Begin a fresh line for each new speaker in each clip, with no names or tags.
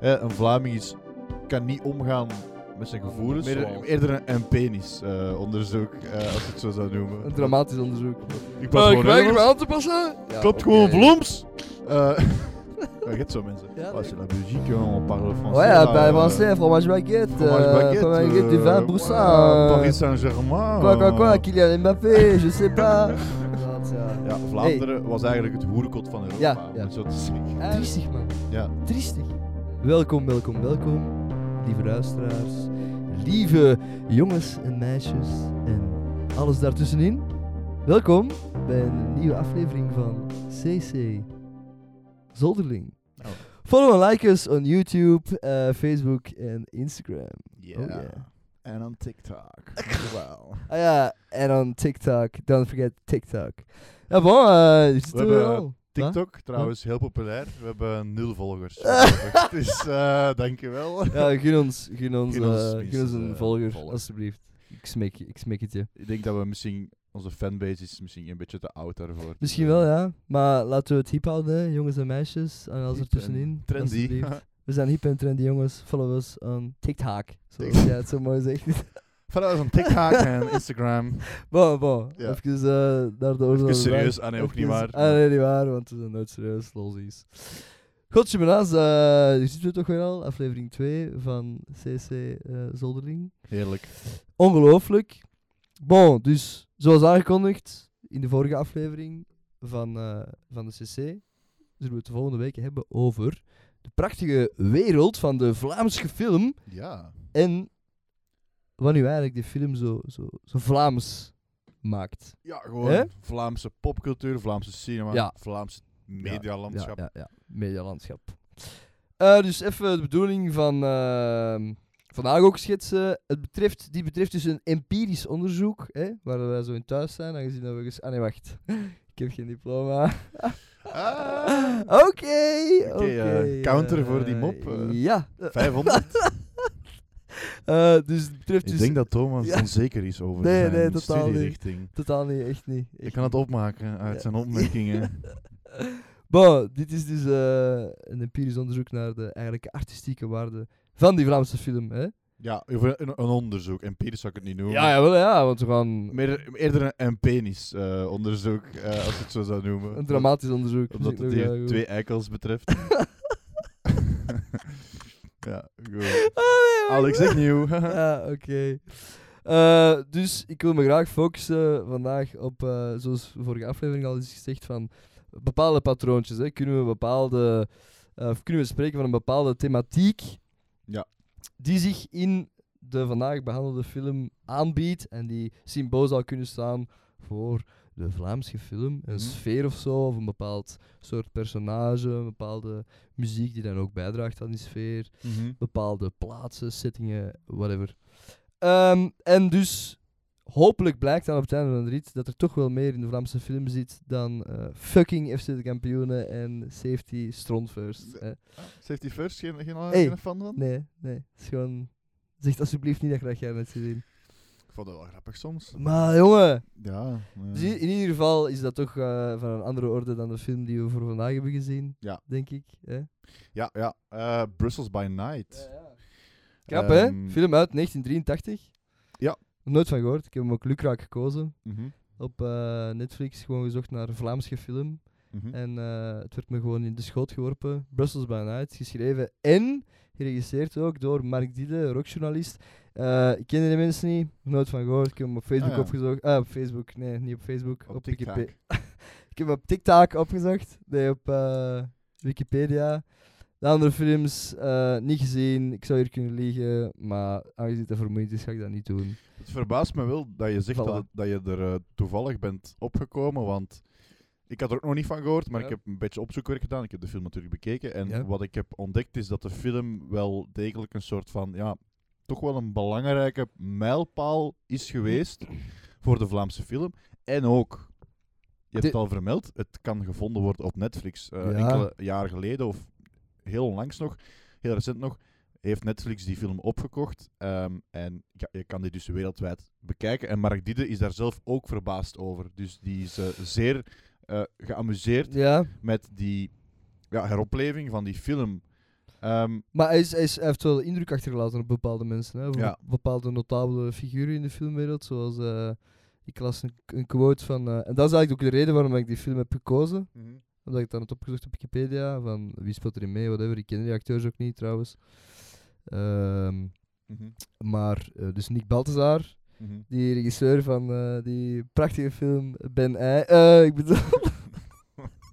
Eh, een Vlaming is, kan niet omgaan met zijn gevoelens.
Meer-
Zoals- eerder een, een penisonderzoek, eh, als ik het zo zou noemen.
Een dramatisch onderzoek.
Ik
Eh,
was
ik
gewoon
weiger me
Nederlands.
aan te passen. Ja,
Klopt
oké.
gewoon vloems. Eh ja, je hebt zo mensen.
Ja, Oh
Ah, c'est la Belgique, hein, on parle français.
Ouais,
là,
bah,
euh,
français, fromage baguette,
fromage
euh,
baguette,
fromage baguette du
euh,
20%.
voilà,
euh,
Paris Saint-Germain.
Quoi, quoi,
euh,
quoi, Kylian Mbappé, je sais pas. Dat, ja.
Ja, Vlaanderen was eigenlijk het hoerenkot van Europa,
Ja,
om
ja.
het zo te zeggen.
Triestig, man.
Ja.
Triestig. Welkom, welkom, welkom, lieve luisteraars, lieve jongens en meisjes en alles daartussenin. Welkom bij een nieuwe aflevering van CC Zolderling.
Oh.
Follow en like us on YouTube, eh, Facebook en Instagram. Oh, yeah.
En dan TikTok. wow.
Ah ja, en on TikTok. Don't forget TikTok. Ja, bon, eh, dit doen we
hebben
al.
TikTok, trouwens, heel populair. We hebben nul volgers. dus eh dankjewel.
Ja, gun ons, gun ons,
Gun
eh,
ons
gun ons
minstens,
een
eh,
volger,
volger.
alsjeblieft. Ik smeek, je, ik smeek het je.
Ik denk dat we misschien... Onze fanbase is misschien een beetje te oud daarvoor.
Misschien wel, ja. Maar laten we het hip houden, hè, jongens en meisjes. En alles
Hip en
ertussenin.
eh, Trendy.
alsjeblieft. We zijn hip en trendy, jongens. Follow us on TikTok. Zoals jij het zo mooi zegt.
Vanuit ons op TikTok en Instagram.
Bon, bon.
Ja.
Even eh, naar de orde.
Even
van de dag.
serieus. Ah nee, ook niet
Even-
waar.
Ah nee, niet waar, want we zijn nooit serieus. Losies. Godje menaas, eh hier zitten we toch weer al. Aflevering 2 van CC eh, Zoldering.
Heerlijk.
Ongelooflijk. Bon, dus zoals aangekondigd in de vorige aflevering van, eh, van de CC, zullen we het de volgende week hebben over de prachtige wereld van de Vlaamse film
Ja.
en wat nu eigenlijk de film zo, zo, zo Vlaams maakt.
Ja, gewoon
Hè?
Vlaamse popcultuur, Vlaamse cinema,
Ja.
Vlaamse medialandschap.
Ja, ja, ja. medialandschap. Eh, dus even de bedoeling van eh, vandaag ook schetsen. Het betreft, die betreft dus een empirisch onderzoek, hè, waar wij zo in thuis zijn, aangezien dat we... Ges- ah nee, wacht. Ik heb geen diploma.
Ah.
Oké, oké.
Oké, eh, counter
eh,
voor die mop, eh.
ja.
500.
Eh, dus het betreft
Ik
dus...
denk dat Thomas
Ja.
onzeker is over
Nee,
zijn
nee, totaal niet.
studierichting.
Totaal niet, echt niet.
Ik
echt
kan het opmaken uit
Ja.
zijn opmerkingen.
Bon, dit is dus eh, een empirisch onderzoek naar de eigenlijke artistieke waarde van die Vlaamse film. Hè?
ja, over een, een onderzoek. Empirisch zou ik het niet noemen.
Ja, ja, wel, ja, want we gaan
Meer, eerder een, een penis-onderzoek, eh, als ik het zo zou noemen.
Een dramatisch onderzoek.
Omdat
misschien
het
nog, ja,
hier
goed.
twee eikels betreft. ja, goed.
Ah, nee, maar
Alex
goed.
opnieuw.
Ja, Ah, oké. Eh, dus ik wil me graag focussen vandaag op, eh, zoals de vorige aflevering al is gezegd, van bepaalde patroontjes. Hè. Kunnen we bepaalde, eh, of kunnen we spreken van een bepaalde thematiek
Ja.
die zich in de vandaag behandelde film aanbiedt en die symbool zou kunnen staan voor de Vlaamse film, een
Mhm.
sfeer of zo, of een bepaald soort personage, een bepaalde muziek die dan ook bijdraagt aan die sfeer
Mhm.
bepaalde plaatsen, settingen, whatever. Ehm, en dus hopelijk blijkt dan op het einde van de rit dat er toch wel meer in de Vlaamse film zit dan eh, fucking FC de kampioenen en safety stront first. hè.
Safety first, geen, geen,
Hey.
geen fan van?
Nee, nee. Het is gewoon... Zeg alsjeblieft niet dat je dat jij net gezien.
Ik vond het wel grappig soms.
Maar jongen,
Ja. ja.
dus in in ieder geval is dat toch eh, van een andere orde dan de film die we voor vandaag hebben gezien.
Ja.
Denk ik. Hè?
Ja, ja. eh, Brussels by Night.
Knap
Ehm,
hè? Film uit 1983.
Ja.
Nog Nooit van gehoord. Ik heb hem ook lukraak gekozen.
Mhm,
op eh, Netflix gewoon gezocht naar Vlaamse film.
mhm.
En eh, het werd me gewoon in de schoot geworpen. Brussels by Night, geschreven en geregisseerd ook door Mark Diede, rockjournalist. Eh, ik ken die mensen niet, nooit van gehoord. Ik heb hem op Facebook
Ah, ja.
opgezocht. Ah, op Facebook, nee, niet op Facebook.
Op TikTok.
Wikipedia. Ik heb hem op TikTok opgezocht. Nee, op eh, Wikipedia. De andere films eh, niet gezien. Ik zou hier kunnen liegen, maar aangezien het te vermoeiend is, ga ik dat niet doen.
Het verbaast me wel dat je zegt
Voilà.
dat, het- dat je er eh, toevallig bent opgekomen, want ik had er ook nog niet van gehoord, maar
Ja.
ik heb een beetje opzoekwerk gedaan. Ik heb de film natuurlijk bekeken en
Ja.
wat ik heb ontdekt is dat de film wel degelijk een soort van, ja, toch wel een belangrijke mijlpaal is geweest voor de Vlaamse film. En ook, je hebt
De-
het al vermeld, het kan gevonden worden op Netflix. Eh,
Ja.
Enkele jaren geleden of heel onlangs nog, heel recent nog, heeft Netflix die film opgekocht. Ehm, en ja, je kan die dus wereldwijd bekijken. En Mark Diede is daar zelf ook verbaasd over. Dus die is eh, zeer eh, geamuseerd
Ja,
met die ja, heropleving van die film. Eh, Ehm,
Maar hij, is, hij, is, hij heeft wel indruk achtergelaten op bepaalde mensen. Hè? Op
Ja.
Bepaalde notabele figuren in de filmwereld. Zoals, eh, ik las een, een quote van... eh, en dat is eigenlijk ook de reden waarom ik die film heb gekozen.
Mhm.
Omdat ik het dan had opgezocht op Wikipedia. Van wie speelt erin mee, whatever. Ik ken die acteurs ook niet trouwens. Ehm,
mhm,
maar, eh, dus Nick Balthazar.
mhm.
Die regisseur van eh, die prachtige film Ben I. eh, ik bedoel...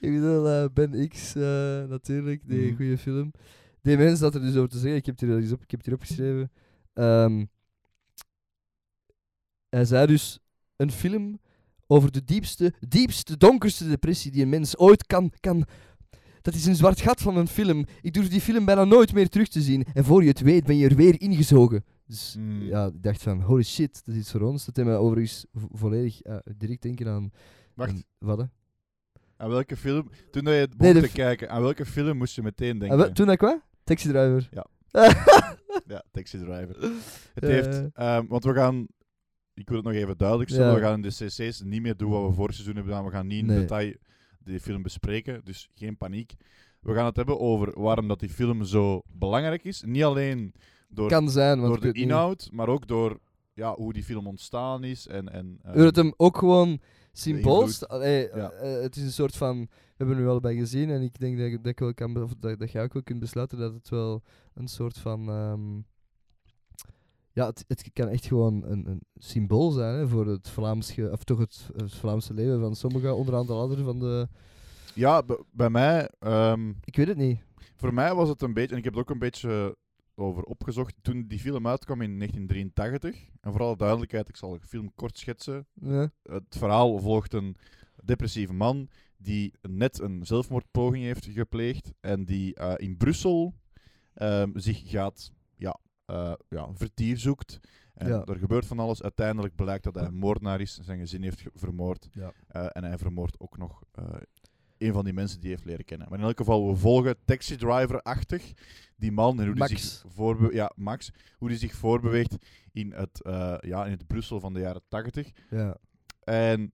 ik bedoel eh, Ben X eh, natuurlijk, die
Mhm.
goede film. Die mens had er dus over te zeggen, ik heb het hier, eens op, ik heb het hier opgeschreven. Ehm, hij zei dus een film over de diepste, diepste, donkerste depressie die een mens ooit kan, kan... Dat is een zwart gat van een film. Ik durf die film bijna nooit meer terug te zien. En voor je het weet ben je er weer ingezogen. Dus
Mm.
ja, ik dacht van, holy shit, dat is iets voor ons. Dat deed mij overigens vo- volledig eh, direct denken aan...
Wacht,
aan- wat hè?
aan welke film... Toen dat je het begon
de
te
f-
kijken, aan welke film moest je meteen
Ah,
denken?
wel, toen ik wat? Taxi driver.
Ja. Ja, Taxi Driver. Het
Ja,
heeft...
ja.
ehm, want we gaan... Ik wil het nog even duidelijk stellen.
Ja.
We gaan in de cc's niet meer doen wat we vorig seizoen hebben gedaan. We gaan niet in
Nee.
detail die film bespreken. Dus geen paniek. We gaan het hebben over waarom dat die film zo belangrijk is. Niet alleen door,
kan zijn, want
door
ik
de
weet niet.
inhoud, maar ook door ja, hoe die film ontstaan is. En, en, ehm,
Hoe dat hem ook gewoon symbool
invloed.
sta- allee,
Ja.
eh, eh, Het is een soort van... We hebben nu allebei gezien en ik denk dat, ik- dat, ik wel kan, be- of dat, dat jij ook wel kunt besluiten dat het wel een soort van... ehm, ja, het, het kan echt gewoon een, een symbool zijn hè, voor het Vlaamse, of toch het, het Vlaamse leven van sommigen, onderaan de ladder van de...
Ja, b- bij mij... ehm,
Ik weet het niet.
Voor mij was het een beetje, en ik heb het ook een beetje eh, over opgezocht, toen die film uitkwam in 1983, en voor alle duidelijkheid, ik zal de film kort schetsen.
Ja.
Het verhaal volgt een depressieve man die net een zelfmoordpoging heeft gepleegd en die eh, in Brussel ehm, zich gaat ja, eh, ja, vertier zoekt. En
Ja.
er gebeurt van alles. Uiteindelijk blijkt dat hij een moordenaar is en zijn gezin heeft ge- vermoord.
Ja.
Eh, en hij vermoordt ook nog eh, een van die mensen die hij heeft leren kennen. Maar in elk geval, we volgen taxi driver-achtig die man en hoe die
Max.
zich voorbe- ja, Max, hoe die zich voorbeweegt in het, eh, ja, in het Brussel van de jaren 80.
Ja.
En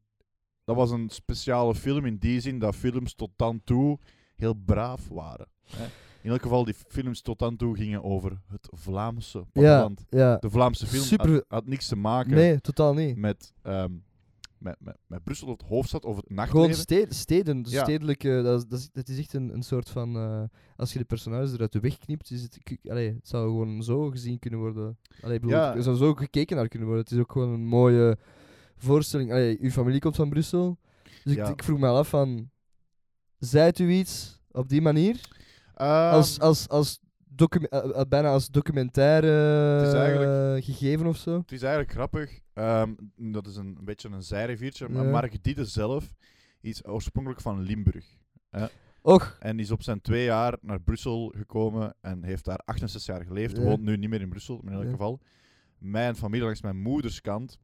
dat was een speciale film in die zin dat films tot dan toe heel braaf waren. Hè? In elk geval, die films tot dan toe gingen over het Vlaamse
Ja,
platteland.
ja.
De Vlaamse film had,
Super-
had niks te maken
Nee, totaal niet.
met, ehm, met, met, met Brussel, of het hoofdstad, of het
Gewoon
nachtleven.
ste- steden, dus
Ja.
stedelijke, dat is, dat is, dat is echt een, een soort van, eh, als je de personages eruit de weg knipt, is het, k- allee, het zou gewoon zo gezien kunnen worden. Allee, ik bedoel,
Ja.
Er zou zo gekeken naar kunnen worden. Het is ook gewoon een mooie voorstelling. Allee, uw familie komt van Brussel, dus
Ja.
ik, ik vroeg me al af van, zijt u iets op die manier?
Ehm,
als, als, als docu- eh, eh, bijna als documentaire
Het is
eh,
eigenlijk-
gegeven of zo?
Het is eigenlijk grappig. ehm, dat is een, een beetje een zijriviertje. Maar
Ja.
Mark Diede zelf is oorspronkelijk van Limburg.
Och,
En is op zijn twee jaar naar Brussel gekomen en heeft daar 68 jaar geleefd.
Ja.
Woont nu niet meer in Brussel, maar in elk
Ja.
geval. Mijn familie langs mijn moeders kant,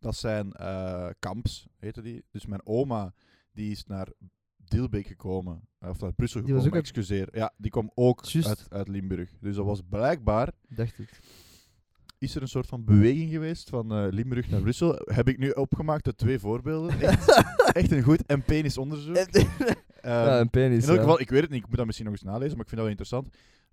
dat zijn eh, kamps, heette die. Dus mijn oma, die is naar Dilbeek gekomen, eh, of naar Brussel
Die
gekomen,
was ook uit-
excuseer. Ja, die kwam ook
Juist.
uit, uit Limburg. Dus dat was blijkbaar
dacht ik.
is er een soort van beweging geweest van eh, Limburg naar Brussel. Heb ik nu opgemaakt uit twee voorbeelden. Ehm, Echt, echt een goed en penis onderzoek.
ja, een penis.
in elk
ja.
geval, ik weet het niet, ik moet dat misschien nog eens nalezen, maar ik vind dat wel interessant.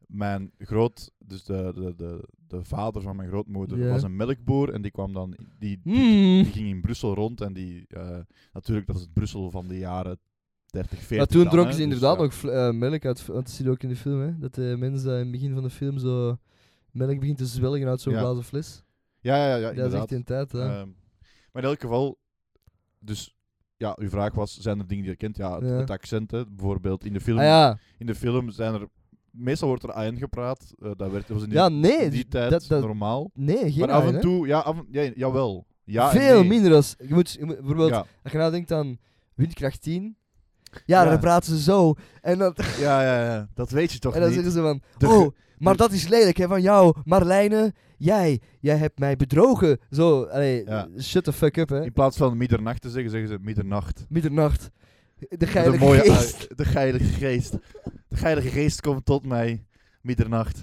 Mijn groot, dus de, de, de, de vader van mijn grootmoeder,
Ja.
was een melkboer en die kwam dan, in- die, die,
Hmm.
die ging in Brussel rond en die, eh, natuurlijk dat is het Brussel van de jaren 30, 40.
Maar toen
dan,
dronken
hè,
ze
dus,
inderdaad
ja.
nog vl- eh, melk uit. Want dat zie je ook in de film, hè? Dat de mensen dat in het begin van de film zo melk begint te zwelgen uit zo'n
Ja.
glazen fles.
Ja, ja, ja,
dat is
inderdaad.
echt in tijd, hè? Ah
Ehm, maar in elk geval, dus ja, uw vraag was: zijn er dingen die je kent? Ja, het,
Ja.
het accent, hè, bijvoorbeeld in de film.
ah ja,
In de film zijn er. Meestal wordt er AN gepraat. eh, dat werd, dat was in die,
ja
in
nee.
die
d-
tijd
dat, dat,
normaal.
nee, geen
Maar af
eieren,
en
hè.
toe, ja, af, en- ja, jawel. Ja, en
Veel
nee.
minder als... Je moet, je moet- bijvoorbeeld,
Ja,
als je nadenkt aan windkracht 10... Ja,
Ja.
dan praten ze zo. En dan,
ja, ja, ja, dat weet je toch
en dan
niet.
zeggen ze van...
De ge-
oh, maar dat is lelijk, hè? Van jou, Marlijne. Jij, jij hebt mij bedrogen. Zo, allee,
Ja.
shut the fuck up, hè?
In plaats van middernacht te zeggen, zeggen ze middernacht.
Middernacht. De
Met een
geilige
mooie
geest.
ui- de heilige geest. De heilige geest komt tot mij. Middernacht.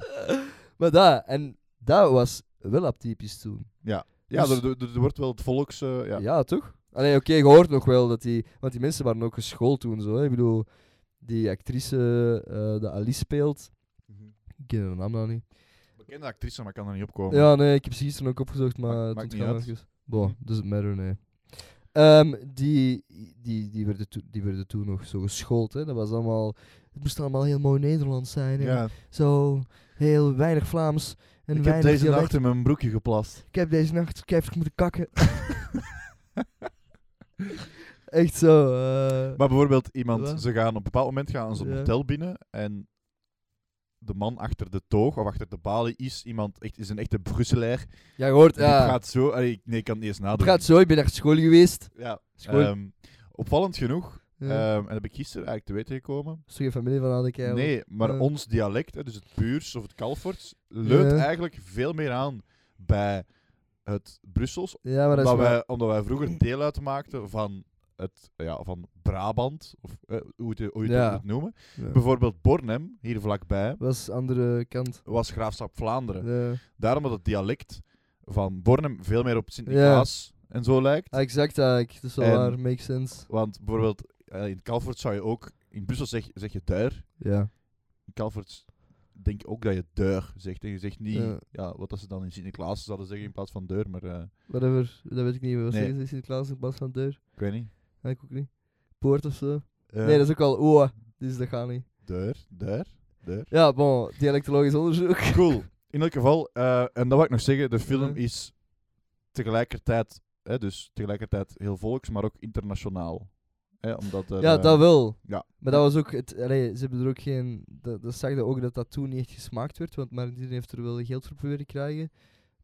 Maar dat, en dat was wel atypisch toen.
Ja,
Dus-
er, er- er wordt wel het volks... eh, ja.
Ja, toch? Allee, oké, je hoort nog wel dat die... Want die mensen waren ook geschoold toen, zo. Hè? Ik bedoel, Die actrice eh, dat Alice speelt. Ik ken haar naam nou niet.
Bekende actrice, maar kan er niet opkomen.
Ja, nee, ik heb ze gisteren ook opgezocht,
Oh. Maakt-
maar
maakt
tot
niet
gaan
uit.
even. Boah,
Mhm.
doesn't matter, nee. Ehm, die, die, die, werden toen- die werden toen nog zo geschoold, hè. Dat was allemaal... Het moest allemaal heel mooi Nederlands zijn. en
Ja.
Zo heel weinig Vlaams
Ik
en
heb
weinig
deze
dialect.
nacht in mijn broekje geplast.
Ik heb deze nacht keihard moeten kakken. Echt zo. eh,
Maar bijvoorbeeld iemand,
Ja.
ze gaan op een bepaald moment gaan ze een
Ja.
hotel binnen en de man achter de toog of achter de balie is iemand, echt, is een echte Brusselaar.
ja, je hoort.
Die
Ja.
praat zo, allee, ik- nee, ik kan het niet eens
Het
nadenken.
gaat zo, ik ben naar school geweest.
Ja,
School.
ehm, opvallend genoeg,
ja.
ehm, en dat heb ik gisteren eigenlijk te weten gekomen.
Is toch je familie van Adekke eigenlijk?
Nee, maar
Ja.
ons dialect, hè, dus het Puurs of het Kalforts, leunt
Ja.
eigenlijk veel meer aan bij het Brussels
Ja, maar Oh, dat is
omdat,
waar.
wij, omdat wij vroeger deel uitmaakten van, het, ja, van Brabant, of eh, hoe het- hoe je het,
Ja.
moet noemen.
Ja.
Bijvoorbeeld Bornem, hier vlakbij,
was andere kant.
was graafschap Vlaanderen.
Ja.
Daarom dat het dialect van Bornem veel meer op Sint-Niklaas en zo lijkt.
Ah, exact eigenlijk. Dat is wel
En-
waar, makes sense.
Want bijvoorbeeld eh, in Calvert zou je ook, in Brussel zeg, zeg je duir.
Ja.
In Calvert denk ik ook dat je deur zegt. En je zegt niet
Ja.
ja. wat dat ze dan in Sint-Niklaas zouden zeggen in plaats van deur, maar eh,
Whatever, dat weet ik niet. Wat
Nee.
zeggen ze in Sint-Klaas in plaats van deur?
ik weet niet.
Ja, ik ook niet. Poort of zo?
Eh,
Nee, dat is ook al oa. Dus dat gaat niet.
Deur, deur, deur.
Ja, bon, dialectologisch onderzoek.
Cool. In elk geval, eh, en dat wil ik nog zeggen, de film
Ja.
is tegelijkertijd, hè, dus tegelijkertijd heel volks, maar ook internationaal. Hè, omdat er,
Ja,
eh,
dat wel.
ja.
Maar dat was ook het. allee, ze hebben er ook geen. Dat, dat zag je ook dat dat toen niet echt gesmaakt werd. Want Martin heeft er wel geld voor proberen te krijgen.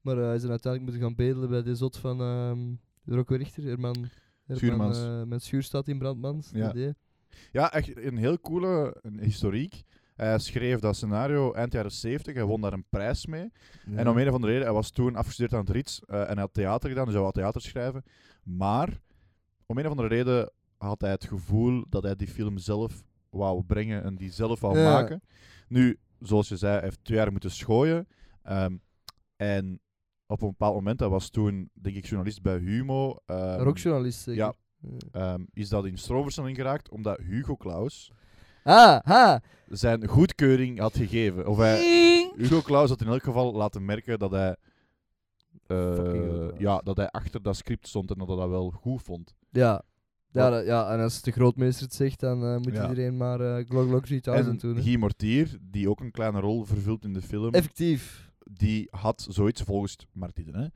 Maar eh, hij is dan uiteindelijk moeten gaan bedelen bij de zot van ehm Rocco Richter. Herman, Herman,
Schuurmans.
eh, met schuur staat in Brandmans.
Ja.
dat idee.
Ja, echt een heel coole een historiek. Hij schreef dat scenario eind jaren 70, hij won daar een prijs mee. En
Mhm.
om een of andere reden, hij was toen afgestudeerd aan het Rits eh, en hij had theater gedaan, dus hij wou theater schrijven. Maar om een of andere reden had hij het gevoel dat hij die film zelf wou brengen en die zelf wou
Ja.
maken. Nu, zoals je zei, hij heeft twee jaar moeten schooien. ehm, en op een bepaald moment, hij was toen, denk ik, journalist bij Humo. ehm,
Rockjournalist. Eh, zeker?
ja.
Ja.
ehm, is dat in stroomversnelling geraakt, omdat Hugo Claus
Ah, ha!
zijn goedkeuring had gegeven. Of hij, Hugo Claus had in elk geval laten merken dat hij, eh,
Fucking Hugo Claus.
ja, dat hij achter dat script stond en dat hij dat wel goed vond.
Ja. Ja, dat- ja, en als de grootmeester het zegt, dan eh, moet
Ja.
iedereen maar eh Glock Glock 3000 doen.
En
hè.
Guy Mortier, die ook een kleine rol vervult in de film,
Effectief.
die had zoiets volgens Martine.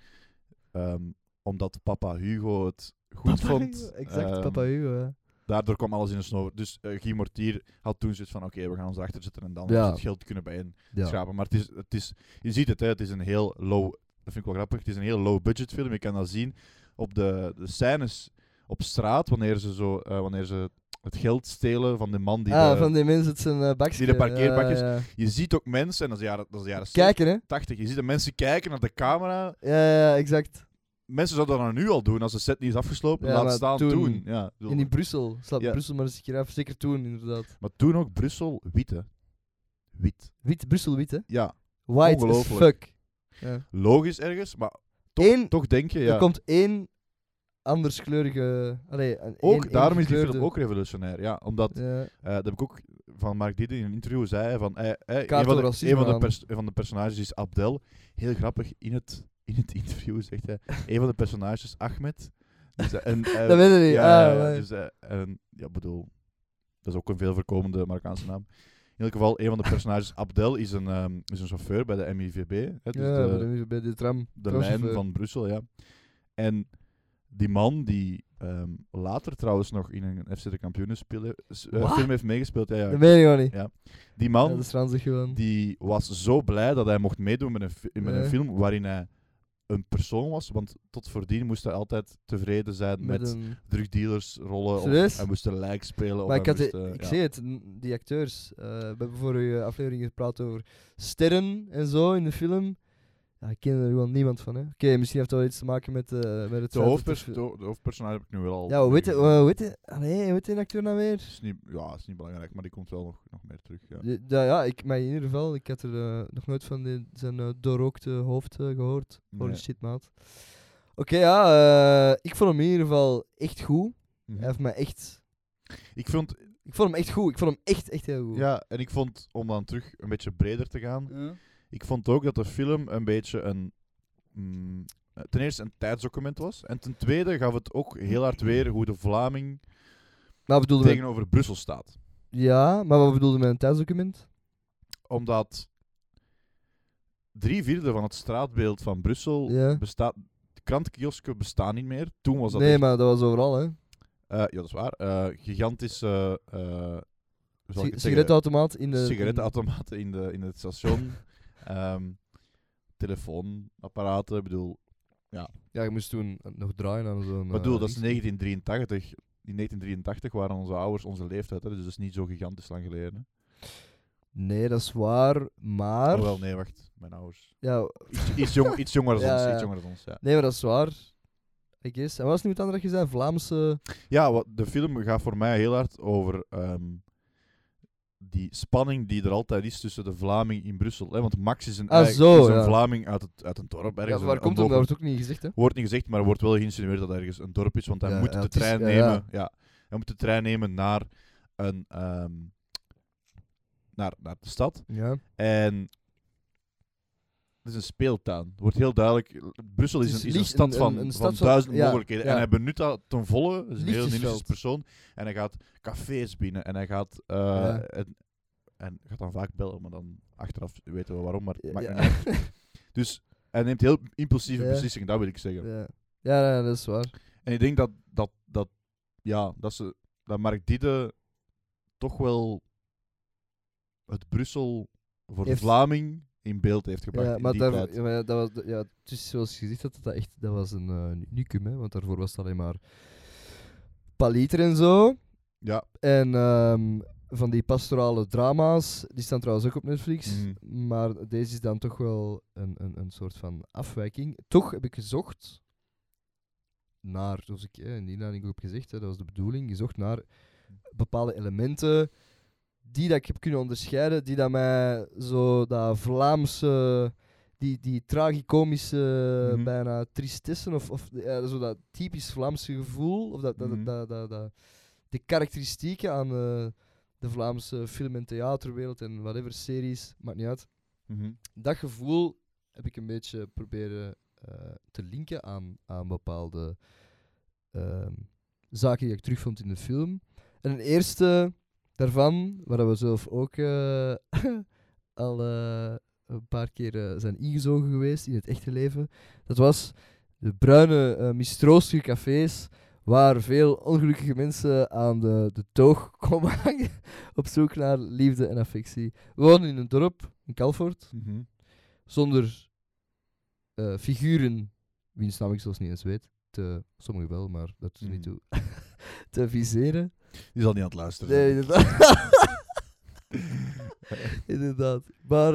Hè? Ehm, omdat papa Hugo het goed
Papa
vond.
Hugo, Exact,
ehm,
Papa Hugo. hè.
Daardoor kwam alles in een snow. Dus eh, Guy Mortier had toen zoiets van, oké, we gaan ons erachter zetten en dan
Ja.
is het geld kunnen bijeen.
Ja.
schrapen. Maar het is, het is, je ziet het, hè, het is een heel low. Dat vind ik wel grappig. Het is een heel low budget film. Je kan dat zien op de, de scènes op straat, wanneer ze, zo, eh, wanneer ze het geld stelen van de man die.
ah,
de-
van die mensen het zijn eh bakjes.
die de parkeerbakjes-
Ja, ja.
Je ziet ook mensen, en dat is de jaren, dat is de jaren 70,
Kijken, hè?
80. Je ziet de mensen kijken naar de camera.
Ja, ja, exact.
Mensen zouden dat nu al doen als de set niet is afgeslopen.
Ja,
laat
maar
staan
toen-
toen. Ja, ik bedoel,
En in Brussel. Slaat
Ja.
Brussel maar eens een keer af. Zeker toen, inderdaad.
Maar toen ook Brussel, wit hè. Wit.
Wit, Brussel wit, hè?
Ja,
White as
Ongelooflijk.
fuck. Ja.
logisch ergens, maar toch,
Eén-
toch denk je. Ja.
Er komt één anderskleurige... Allee, een-
ook
één
daarom is die film
ingekleurde-
ook revolutionair. Ja, omdat
Ja.
Eh, dat heb ik ook van Mark Didden in een interview zei. Van, eh, eh,
Kaart
een van
door
de,
racisme
een van de,
aan.
pers- een van de personages is Abdel. Heel grappig, in het, in het interview zegt hij, een van de personages, Ahmed. Dus, eh, en, eh,
Dat weet ik niet.
ja, ja,
ah,
ja,
maar-
dus, eh, en, ja, bedoel, dat is ook een veel voorkomende Marokkaanse naam. In elk geval, een van de personages, Abdel, is een, ehm, is een chauffeur bij de MIVB. Hè, dus
ja,
de,
bij de- bij de tram.
de
Tramchauffeur.
lijn van Brussel, ja. En die man die ehm, later trouwens nog in een FC de Kampioenen spelen- s- eh,
Wat?
film heeft megespeeld, ja, ja.
Dat weet ik gewoon niet.
Ja, die
Ja,
man
dat is ranzig gewoon.
die was zo blij dat hij mocht meedoen met een, fi- met een
Ja.
film waarin hij een persoon was, want tot voordien moest hij altijd tevreden zijn met,
met een...
drugdealers rollen, of
Serieus?
hij moest een lijk spelen.
Maar
of
ik,
hij
had de-
moest, eh,
ik
ja.
zie het, n- die acteurs. eh, we hebben voor uw aflevering gepraat over sterren en zo in de film. Ja, ik ken er gewoon niemand van, hè. Oké, misschien heeft dat wel iets te maken met, eh, met
de,
het... feit dat
hoofdpers
de
de, ho- de hoofdpersonage heb ik nu wel al.
fi- Ja, hoe heet,
gezien.
die- hoe heet, die- allee, hoe heet die acteur nou weer?
is niet, ja, is niet belangrijk, maar die komt wel nog, nog meer terug. Ja.
Ja, ja, ja, ik, maar in ieder geval, ik had er eh, nog nooit van die, zijn eh, doorrookte hoofd eh, gehoord. Holy
Nee.
shit, maat. Oké, ja, eh, ik vond hem in ieder geval echt goed.
Mhm.
Hij heeft mij echt...
Ik vond
Ik vond hem echt goed. Ik vond hem echt, echt heel goed.
Ja, en ik vond, om dan terug een beetje breder te gaan,
Ja.
ik vond ook dat de film een beetje een... mm, eh, ten eerste een tijdsdocument was. En ten tweede gaf het ook heel hard weer hoe de Vlaming
Maar bedoelde men-
tegenover Brussel staat.
ja, maar wat bedoelde men een tijdsdocument?
Omdat drie vierde van het straatbeeld van Brussel
Ja.
bestaat... De krantenkiosken bestaan niet meer. Toen was dat
Nee,
echt-
maar dat was overal, hè.
eh, ja, dat is waar. eh, gigantische... eh, hoe zal ik
Sig-
het zeggen?
sigarettenautomaat in de...
sigarettenautomaten in, de, in het station. ehm, telefoonapparaten, ik bedoel...
Ja, je moest toen nog draaien aan zo'n...
Maar bedoel,
eh,
dat is
iets.
1983. In 1983 waren onze ouders onze leeftijd, hè, dus dat is niet zo gigantisch lang geleden. hè.
Nee, dat is waar, maar...
Oh, wel, nee, wacht. Mijn ouders.
Ja,
Iets, iets, jong, iets jonger dan
Ja,
ons.
ja.
Iets jonger dan ons, ja.
nee, maar dat is waar. Ik is. En wat is nu het andere dat je zei? Vlaamse...
Ja, wat, de film gaat voor mij heel hard over ehm, die spanning die er altijd is tussen de Vlaming in Brussel. Hè? Want Max is een,
Ah,
eigen-
zo,
is een
ja.
Vlaming uit, het, uit een dorp.
Ja,
Ergens
waar
een-
komt nou
een
dat? Dat wordt ook niet gezegd, hè.
Wordt niet gezegd, maar wordt wel geïnsinueerd dat ergens een dorp is, want hij
Ja,
moet
ja,
de
het is-
trein
ja, ja.
nemen. Ja. hij moet de trein nemen naar, een, ehm, naar, naar de stad.
Ja.
En het is een speeltuin. Het wordt heel duidelijk. Brussel is,
Het is
een, is een
licht-
stad
een-
van,
een- een stad
van
van-
duizend
ja,
mogelijkheden.
ja.
En hij benut dat ten volle. Het is een heel
Lichtjesveld.
dynamisch persoon. En hij gaat cafés binnen en hij gaat. eh,
Ja.
en, en gaat dan vaak bellen, maar dan achteraf weten we waarom. Maar het maakt
Ja.
niet uit. Dus hij neemt heel impulsieve
Ja.
beslissingen, dat wil ik zeggen.
Ja. Ja, ja, dat is waar.
En ik denk dat, dat, dat, ja, dat, ze, dat Mark Diede toch wel het Brussel voor de
Heeft-
Vlaming in beeld heeft gebracht.
Ja,
in
maar,
die
daar,
tijd.
ja, maar dat was, ja, het is zoals gezegd dat dat echt dat was een eh, unicum, hè, want daarvoor was het alleen maar paliter en zo.
Ja.
En ehm, van die pastorale drama's, die staan trouwens ook op Netflix. Maar deze is dan toch wel een, een, een soort van afwijking. Toch heb ik gezocht naar, zoals ik eh, in de inleiding ook heb gezegd, hè, dat was de bedoeling, gezocht naar bepaalde elementen die dat ik heb kunnen onderscheiden, die dat mij zo dat Vlaamse, die, die tragicomische,
Mhm.
bijna tristessen of, of ja, zo dat typisch Vlaamse gevoel, of dat, dat,
Mhm.
dat, dat, dat- de karakteristieken aan eh, de Vlaamse film- en theaterwereld en whatever series, maakt niet uit.
Mhm.
Dat gevoel heb ik een beetje proberen eh, te linken aan, aan bepaalde ehm, zaken die ik terugvond in de film. En een eerste daarvan, waar we zelf ook eh, al eh, een paar keer eh, zijn ingezogen geweest in het echte leven, dat was de bruine eh, mistroostige cafés waar veel ongelukkige mensen aan de, de toog komen hangen op zoek naar liefde en affectie. We wonen in een dorp, in Calvoort,
Mhm.
zonder eh, figuren, wiens naam ik zelfs niet eens weet, te, sommigen wel, maar dat is niet
Mhm.
toe, te viseren.
Die zal niet aan het luisteren. zijn.
Nee, inderdaad. inderdaad. Maar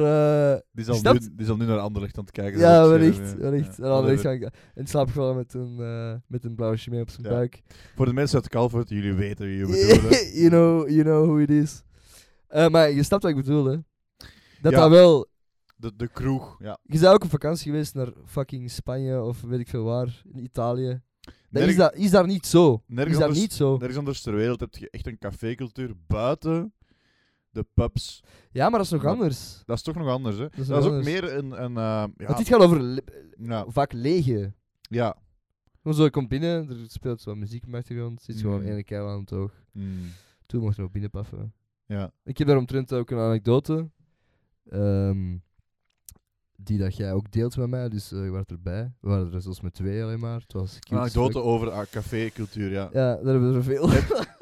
eh,
die, zal
Snapt?
nu, die zal nu naar Anderlecht aan het kijken. zijn
ja,
op het
wellicht.
scherm, ja.
wellicht.
Ja.
En dan wellicht
Whatever.
ga ik in slaap gevallen met een, eh, met een blauwe chimé op zijn
Ja.
buik.
Voor de mensen uit Calvert, jullie weten wie je bedoelt. hè.
you, know, you know who it is. Eh, maar je snapt wat ik bedoel, hè. Dat
Ja.
dat wel
De, de kroeg, ja.
Je bent ook op vakantie geweest naar fucking Spanje of weet ik veel waar, in Italië. Dat
Nerg-
is, dat, is daar niet zo.
nergens
Is dat
anders-
niet zo?
Nergens anders ter wereld heb je echt een cafécultuur buiten de pubs.
Ja, maar dat is nog
Maar-
anders.
Dat is toch nog anders, hè? Dat
is
is,
nog
ook
anders.
meer een... een eh, ja,
Want dit gaat over le-
ja,
vaak lege.
ja.
Gewoon Zo, je komt binnen, er speelt zo wat muziek op de achtergrond, zit gewoon
Mhm.
één keil aan het oog.
Mm,
Toen mocht je nog binnenpaffen.
ja.
Ik heb daaromtrent ook een anekdote. ehm, die dat jij ook deelt met mij, dus eh, je was erbij. We waren er zelfs met twee alleen maar. Het was cute
Een
as
anekdote
fuck.
over ah, cafécultuur, ja.
Ja, daar hebben we er veel.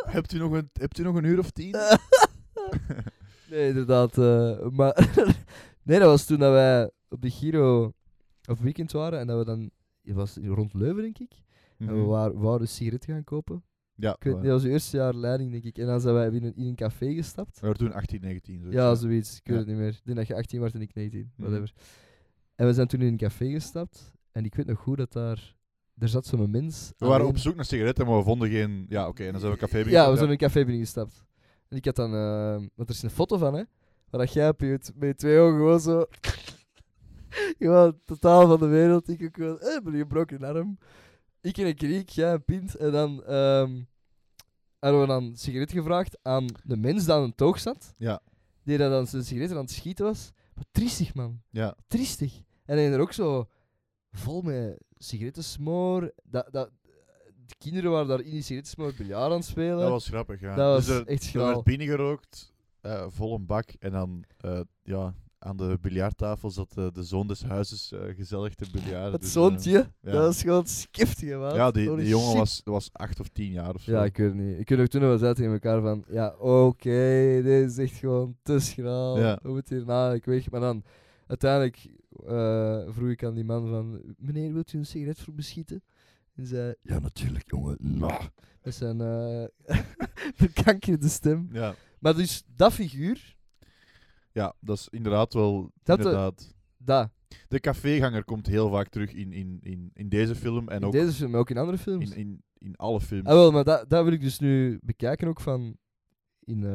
Hebt, u nog een, hebt u nog een uur of tien?
Eh. nee, inderdaad. eh, maar nee, dat was toen dat wij op de Giro op weekend waren en dat we dan het was rond Leuven denk ik. En we
Mhm.
waren, wouden een sigaret gaan kopen.
Ja,
Ik weet niet,
waar.
dat was het eerste jaar leiding denk ik. En dan zijn wij in een, in een café gestapt.
we waren toen 18, 19. zoiets,
Ja, zoiets. Ik weet
Ja.
het niet meer. Ik denk dat je 18 was en ik 19.
Mhm.
Whatever. En we zijn toen in een café gestapt. En ik weet nog goed dat daar... Er zat zo'n mens...
We waren
alleen-
op zoek naar sigaretten, maar we vonden geen... Ja, oké, en dan zijn we café
Ja,
binnengestapt,
we zijn in een café binnengestapt. En ik had dan... eh, want er is een foto van, hè. Waar dat jij op je, t- met je twee ogen gewoon zo... gewoon totaal van de wereld. Ik ook gewoon... Eh, met een gebroken arm. Ik in een kriek, jij een pint. En dan... ehm, hadden we dan een sigaret gevraagd aan de mens die aan een toog zat.
Ja.
Die daar dan zijn sigaret aan het schieten was. Wat triestig, man.
Ja.
Triestig. En hij er ook zo vol met sigarettensmoor. Dat, dat, de kinderen waren daar in die sigarettensmoor biljaar aan het spelen.
Dat was grappig, ja.
Dat was
dus er,
echt
er
schraal.
werd binnengerookt, eh vol een bak. En dan eh, ja, aan de biljarttafel zat eh, de zoon des huizes eh, gezellig te biljarten.
Het
dus,
zoontje,
ja.
dat was gewoon skiftig, man.
eh, ja, die,
Holy
die jongen
shit.
was, was acht of tien jaar of zo.
Ja, ik weet het niet. Ik weet ook toen we zaten tegen elkaar van... Ja, oké, dit is echt gewoon te schraal.
Ja.
We moeten hier namelijk weg. Maar dan, uiteindelijk eh, vroeg ik aan die man van... Meneer, wilt u een sigaret voor beschieten? En zei... Ja, natuurlijk, jongen. Nou. Met zijn eh verkankerde stem.
ja.
Maar dus, dat figuur,
Ja, dat is inderdaad wel...
Dat eh, de-
inderdaad.
dat.
De caféganger komt heel vaak terug in, in, in, in deze film en
in
ook
deze film, maar ook in andere films.
in, in, in alle films.
Ah, wel, maar dat, dat wil ik dus nu bekijken ook van... In eh,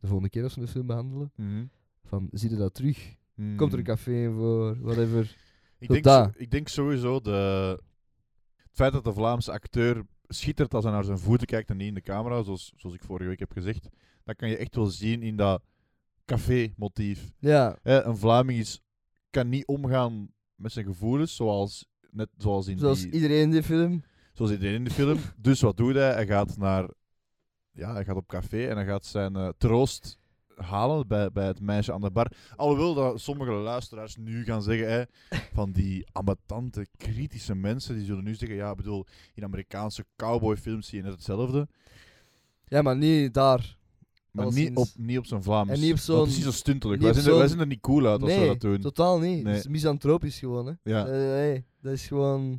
de volgende keer als we de film behandelen.
Mhm.
Van, zie je dat terug?
Mhm.
Komt er een café in voor? Whatever.
ik
Zo
denk,
daar.
zo- ik denk sowieso de, het feit dat de Vlaamse acteur schittert als hij naar zijn voeten kijkt en niet in de camera, zoals, zoals ik vorige week heb gezegd, dat kan je echt wel zien in dat café-motief.
Ja,
Hè, een Vlaming is, kan niet omgaan met zijn gevoelens, zoals, net zoals, in
zoals
die,
iedereen in die film.
zoals iedereen in de film. dus wat doet hij? Hij gaat naar... Ja, hij gaat op café en hij gaat zijn eh, troost halen bij, bij het meisje aan de bar. Alhoewel dat sommige luisteraars nu gaan zeggen, hè, van die ambetante, kritische mensen, die zullen nu zeggen, ja, ik bedoel, in Amerikaanse cowboyfilms zie je net hetzelfde,
Ja, maar niet daar.
maar
Als
niet
in-
op, niet op zijn Vlaams.
en niet op zo'n-
Dat is niet zo stuntelijk.
niet
Wij
op
zijn, er, wij
zo'n-
zijn er niet cool uit als we
nee,
dat doen.
totaal niet.
Nee.
Het is misantropisch gewoon, hè.
Ja.
Eh, nee, dat is gewoon...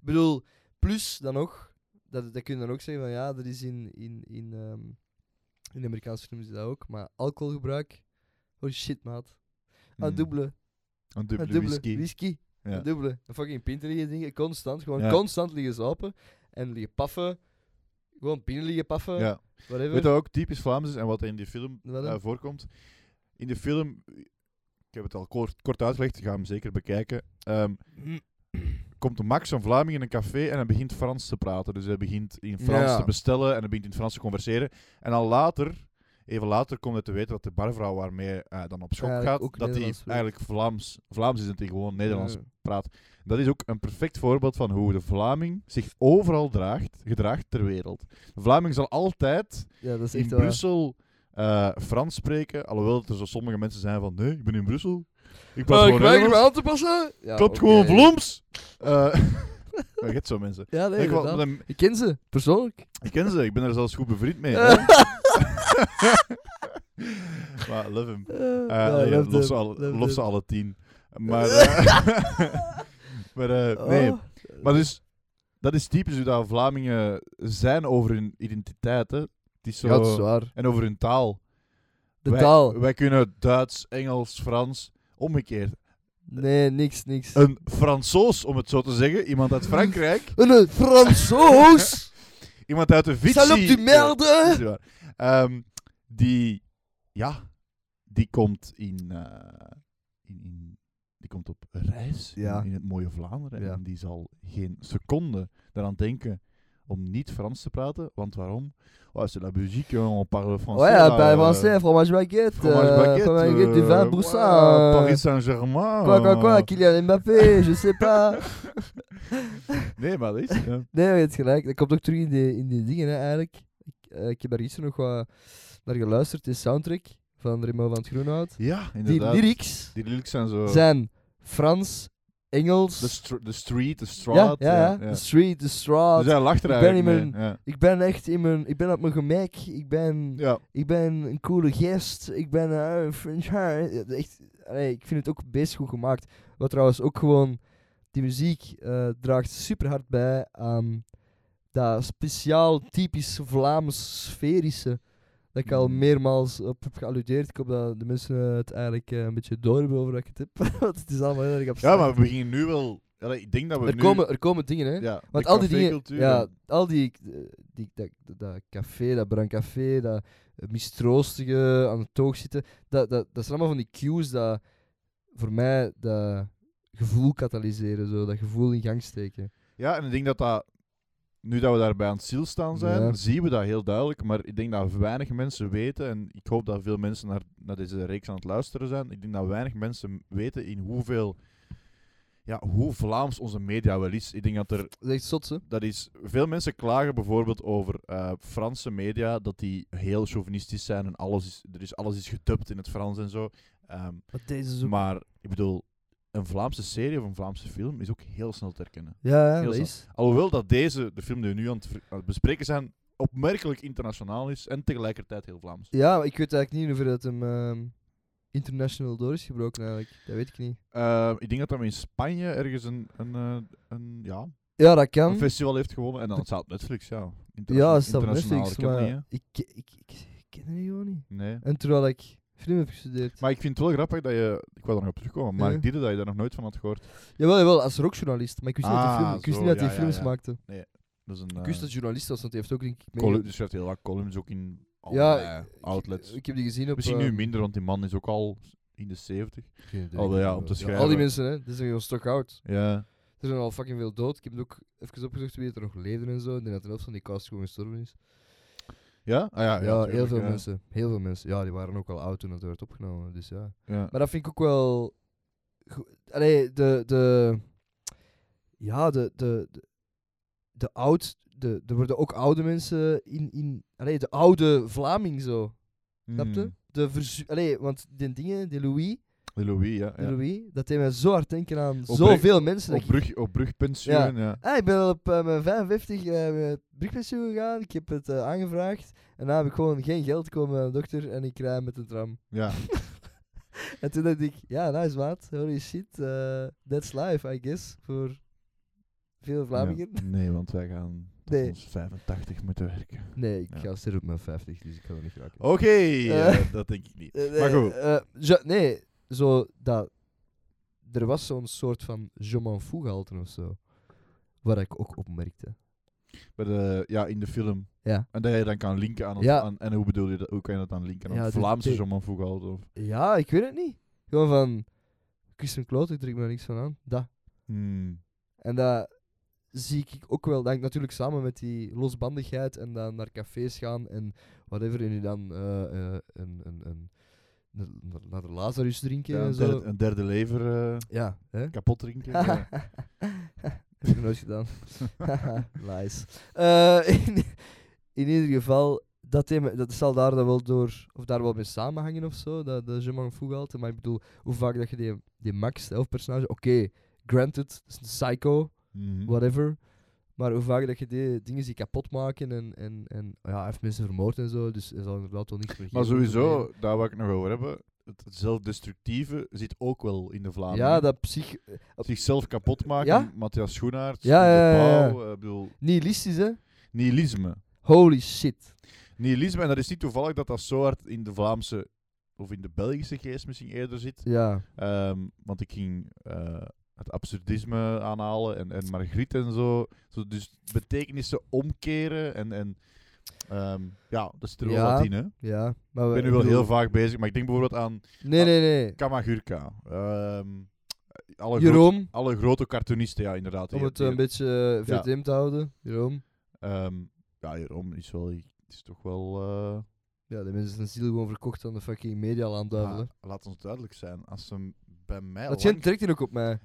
Ik bedoel, plus dan nog, dat, dat kun je dan ook zeggen van ja, dat is in, in, in, ehm, in de Amerikaanse films is dat ook, maar alcoholgebruik, holy shit, maat. Aan
Mm.
dubbele,
Een
aan
dubbele
dubbele,
whisky.
whisky,
Ja.
aan dubbele. Een fucking pinten liggen dingen, constant, gewoon
Ja.
constant liggen slapen en liggen paffen, gewoon binnen liggen paffen,
Ja.
whatever.
Weet je wat ook typisch Vlaams is en wat in die film
Wat dan?
eh, voorkomt? In de film, ik heb het al kort, kort uitgelegd, ga hem zeker bekijken. Ehm,
Mm.
komt Max van Vlaming in een café en hij begint Frans te praten. Dus hij begint in Frans
Ja.
te bestellen en hij begint in Frans te converseren. En al later, even later, komt hij te weten dat de barvrouw waarmee hij dan op schop
Eigenlijk ook
gaat, dat hij
Nederlands spreekt.
eigenlijk Vlaams, Vlaams is en die gewoon Nederlands
Ja.
praat. Dat is ook een perfect voorbeeld van hoe de Vlaming zich overal draagt, gedraagt ter wereld. De Vlaming zal altijd
Ja, dat is
in
echt waar.
Brussel eh, Frans spreken. Alhoewel dat er zo sommige mensen zijn van nee, ik ben in Brussel. Ik
Eh,
praat
ik
gewoon
weiger me
Nederlands.
aan te passen. Ja,
Klopt
oké.
gewoon Vlaams. Eh, maar je hebt zo mensen.
Ja, nee,
ik, wel-
inderdaad.
dan-
Ik ken ze, persoonlijk.
ik ken ze, ik ben er zelfs goed bevriend mee. maar love him.
Eh,
Eh,
ja,
nee,
love
lof, ze
them,
alle,
love
lof ze
them.
alle tien. Maar, eh, maar eh, nee,
Oh.
maar dus, dat is typisch hoe dat Vlamingen zijn over hun identiteit. Hè. Het is zo,
Ja, dat is waar.
en over hun taal.
De
wij,
taal.
Wij kunnen Duits, Engels, Frans. Omgekeerd.
Nee, niks, niks. Een,
Een Fransoos, om het zo te zeggen. Iemand uit Frankrijk.
een Fransoos!
Iemand uit de Vichy.
Salut
Ja,
du merde!
is waar. Ehm, die, ja, die komt in, eh, in, in- die komt op reis in-
Ja.
in, het mooie Vlaanderen.
Ja.
En die zal geen seconde daaraan denken om niet Frans te praten. Want waarom? Oh, c'est la musique, hein, on parle français.
Oh ja,
là,
bij
eh,
Français, fromage baguette.
Fromage
eh,
baguette,
fromage baguette du
euh,
20%.
ouah,
eh,
Paris Saint-Germain.
Quoi, quoi, quoi,
eh.
Kylian Mbappé, je sais pas.
Nee, maar dat is... ja.
Nee, je hebt gelijk. Dat komt ook terug in die, in die dingen, hè, eigenlijk. Ik, eh, ik heb daar gisteren nog wat naar geluisterd, die soundtrack van Remo van het Groenhout.
Ja,
Die
inderdaad.
lyrics
Die lyrics zijn zo...
zijn Frans, Engels...
Oh. De, str- de street, de
ja,
straat.
ja, ja. De street, de straat.
Dus hij lacht er
Ik ben
eigenlijk
in
mee, Ja.
Ik ben echt in mijn... Ik ben op mijn gemak. Ik ben,
ja.
ik ben een coole gast. Ik ben eh, een French haar. Ja, eh, Echt, allee, ik vind het ook best goed gemaakt. Wat trouwens ook gewoon... Die muziek eh, draagt super hard bij aan dat speciaal typisch Vlaams sferische. Dat ik al
Mm.
meermaals op heb gealludeerd. Ik hoop dat de mensen het eigenlijk eh, een beetje door hebben over dat ik het heb. Want het is allemaal heel erg abstract.
ja, maar we beginnen nu wel... Ja, ik denk dat we
er,
nu...
komen, er komen dingen, hè.
ja,
Want
de
al die dingen,
cafécultuur
ja,
en-
al die, eh, die dat, dat café, dat brandcafé, dat eh, mistroostige aan het toog zitten, dat, dat, dat zijn allemaal van die cues dat voor mij dat gevoel katalyseren, zo, dat gevoel in gang steken.
Ja, en ik denk dat dat nu dat we daar bij aan het ziel staan zijn,
Ja.
zien we dat heel duidelijk. Maar ik denk dat weinig mensen weten, en ik hoop dat veel mensen naar, naar deze reeks aan het luisteren zijn, ik denk dat weinig mensen weten in hoeveel, ja, hoe Vlaams onze media wel is. Ik denk dat er
Dat is echt zot, hè?
dat is, veel mensen klagen bijvoorbeeld over eh, Franse media, dat die heel chauvinistisch zijn en alles is, er is, alles is gedubt in het Frans en zo. Ehm,
Maar deze is ook...
maar ik bedoel, een Vlaamse serie of een Vlaamse film is ook heel snel te herkennen.
ja, ja,
heel
dat
zot.
is.
Alhoewel dat deze, de film die we nu aan het, ver- aan het bespreken zijn, opmerkelijk internationaal is en tegelijkertijd heel Vlaams.
Ja, maar ik weet eigenlijk niet in hoeverre dat hem ehm, international door is gebroken eigenlijk. Dat weet ik niet.
Eh, ik denk dat hij in Spanje ergens een, een, eh, een, ja,
Ja, dat
een
kan.
festival heeft gewonnen en dan staat op Netflix, ja.
Ja,
Interna-
dat staat op
internationaal,
Netflix,
ik heb het
maar
niet, hè.
ik, ik, ik, ik ken die gewoon niet.
Nee.
En terwijl ik film heb gestudeerd.
Maar ik vind het wel grappig dat je. Ik wil er nog op terugkomen, maar
Ja.
ik deed dat je daar nog nooit van had gehoord.
Jawel, jawel, als rockjournalist. Maar ik wist niet dat hij
Ah,
film- ik wist
zo,
niet dat
ja,
hij
ja,
films
ja.
maakte.
Dat is een.
Ik
eh,
wist dat hij journalist was, want hij heeft ook denk ik mee-
column, dus je hebt heel wat columns ook in
Ja,
allerlei
ik-
outlets.
Ik heb die gezien op...
Misschien nu
eh,
minder, want die man is ook al in de 70.
idee.
Alhoewel, ja, om te schrijven.
al die mensen, hè. Dit is gewoon stock-out.
Ja.
Er zijn al fucking veel dood. Ik heb ook even opgezocht wie er nog leefde en zo. En ik denk dat de helft van die cast gewoon gestorven is.
Ja? Ah, ja,
Ja, heel
tuurlijk,
veel
ja.
mensen. Heel veel mensen. Ja, die waren ook al oud toen het werd opgenomen. Dus ja.
Ja.
Maar dat vind ik ook wel. go- Allee, de. de ja, de. de, de de oud, de, er worden ook oude mensen in, in allee, de oude Vlaming zo, snap je?
Mm.
De verzu- allee, want die dingen, die Louis,
De Louis, Hmm. ja.
die
ja.
Louis, dat deed mij zo hard denken aan
Op
zoveel mensen. dat
Op,
ik-
brug, op brugpensioen, ja.
Ah, ik ben op eh, mijn 55 eh, met brugpensioen gegaan. Ik heb het eh, aangevraagd. En dan heb ik gewoon geen geld komen bij de dokter. En ik rij met een tram.
Ja.
En toen dacht ik, ja, nice maat. Holy shit. eh, that's life, I guess. Voor veel Vlamingen.
Ja. Nee, want wij gaan tot
Nee.
ons 85 moeten werken.
Nee, ik
Ja.
ga sterven op mijn 50, dus ik ga er niet raken.
Oké,
Eh.
eh, dat denk ik niet.
Eh,
maar
nee,
goed.
eh, je- nee, zo dat... Er was zo'n soort van je m'en fous gehalte of zo. Wat ik ook opmerkte.
Bij de, ja, in de film.
Ja.
En dat je dan kan linken aan, het,
Ja.
aan en hoe bedoel je dat? Hoe kan je dat dan linken aan
Ja, dus
het
de-
Vlaamse
de-
Jean Manfougal of?
Ja, ik weet het niet. Gewoon van... Ik is een kloot, ik trek me er niks van aan. Dat.
Hmm.
En dat zie ik ook wel. Dat hangt natuurlijk samen met die losbandigheid en dan naar cafés gaan en whatever. En je dan eh, eh, een, een, een, naar- naar de Lazarus drinken
Ja,
en
een,
zo.
derde, een derde lever eh,
Ja, hè?
kapot drinken. ja.
Heb ik nog nooit gedaan. nice. Eh, in, in ieder geval, dat, thema, dat zal daar dan wel door, of daar wel mee samenhangen of zo, dat, dat je m'en fous gehalte. Maar ik bedoel, hoe vaak dat je die, die Max, dat hoofdpersonage, oké, granted, dat is een psycho,
Mhm.
whatever. Maar hoe vaak dat je die dingen ziet kapot maken en, en, en ja, hij heeft mensen vermoord en zo, dus er zal inderdaad wel niks meer
Maar
geven.
sowieso, daar wil ik het nog over hebben. Het zelfdestructieve zit ook wel in de Vlaanderen.
Ja, dat psych...
Zichzelf kapot maken,
Ja?
Matthias Schoenaerts,
Ja,
De
ja, ja, ja.
Pauw, eh, ik bedoel,
Nihilistisch, hè?
nihilisme.
Holy shit.
Nihilisme, en dat is niet toevallig dat dat zo hard in de Vlaamse, of in de Belgische geest misschien eerder zit.
Ja.
Ehm, want ik ging eh, het absurdisme aanhalen en, en Margriet en zo. zo. Dus betekenissen omkeren en, en ehm, ja, dat zit er wel
Ja.
wat in. Hè?
Ja, maar
Ik
we-
ben nu wel
bedoel-
heel vaak bezig, maar ik denk bijvoorbeeld aan
Nee, nee, nee.
Kamagurka. Ehm, alle, gro-
Jeroen,
alle grote cartoonisten, ja, inderdaad.
om
die-
het
die-
eh, een beetje eh, VTM te houden. Jeroen.
ehm, ja, Jeroen is wel... Het is toch wel... eh,
Ja, de mensen zijn ziel gewoon verkocht aan de fucking media aan duivelen.
maar ah, laat ons duidelijk zijn, als ze bij mij...
Dat
lang-
schijnt trekt hier ook op mij.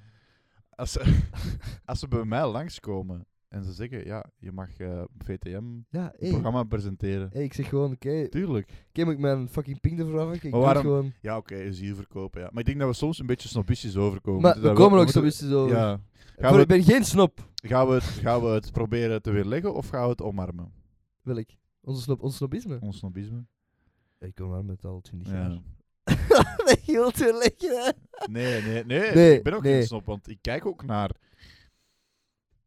als ze, als ze bij mij langskomen en ze zeggen, ja, je mag eh, VTM
Ja,
een
hé.
programma presenteren.
Hé, ik zeg gewoon, oké,
Tuurlijk.
ken ik mijn fucking ping ervoor af? Ik
Maar
doe het
waarom-
gewoon.
Ja, oké, je ziel verkopen, ja. Maar ik denk dat we soms een beetje snobistisch overkomen.
Maar
Dus
we
dat
komen er ook
moeten-
zo wisten over.
Ja. Gaan
Voor,
we,
ik ben geen snop.
gaan, we het, gaan we het proberen te weerleggen of gaan we het omarmen?
Wil ik. Onze snop, ons snobisme.
Ons snobisme?
Ik kom maar met al 20
Ja.
jaar. dat je wilt weer leggen.
Nee, nee, nee,
Nee,
Ik ben ook
nee.
geen snop, want ik kijk ook naar...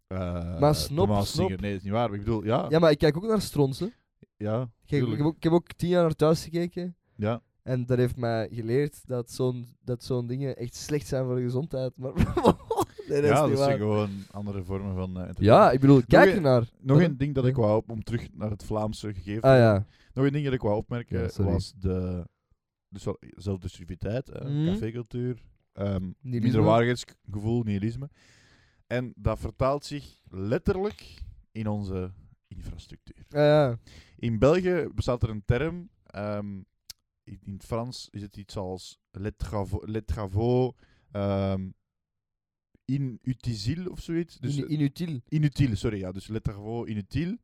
eh,
Maar snop,
Thomas
snop.
Singer. Nee, dat is niet waar. maar Ik bedoel, ja.
Ja, maar ik kijk ook naar stronsen.
Ja,
Ik, heb- ik,
tuurlijk.
heb ook, ik heb ook tien jaar naar thuis gekeken.
ja.
En dat heeft mij geleerd dat zo'n, dat zo'n dingen echt slecht zijn voor de gezondheid. Maar nee, dat
ja, dat
is niet
zijn
waar.
gewoon andere vormen van eh,
Ja, ik bedoel, kijk
een-
ernaar.
Nog
Huh?
een ding dat ik wou op, om terug naar het Vlaamse gegeven. te
Ah
gaan.
ja.
Nog een ding dat ik wou opmerken
Ja, sorry.
was de dus wel zelfdestructiviteit, hè,
Mhm.
cafécultuur, ehm,
Nihilisme.
minderwaardigheidsgevoel, nihilisme. En dat vertaalt zich letterlijk in onze infrastructuur.
Ja, Ah, ja.
In België bestaat er een term. ehm, in, in het Frans is het iets als les travaux, les travaux ehm, inutiles of zoiets. Dus
In- inutiel.
inutiel, sorry. Ja, dus les travaux inutiles.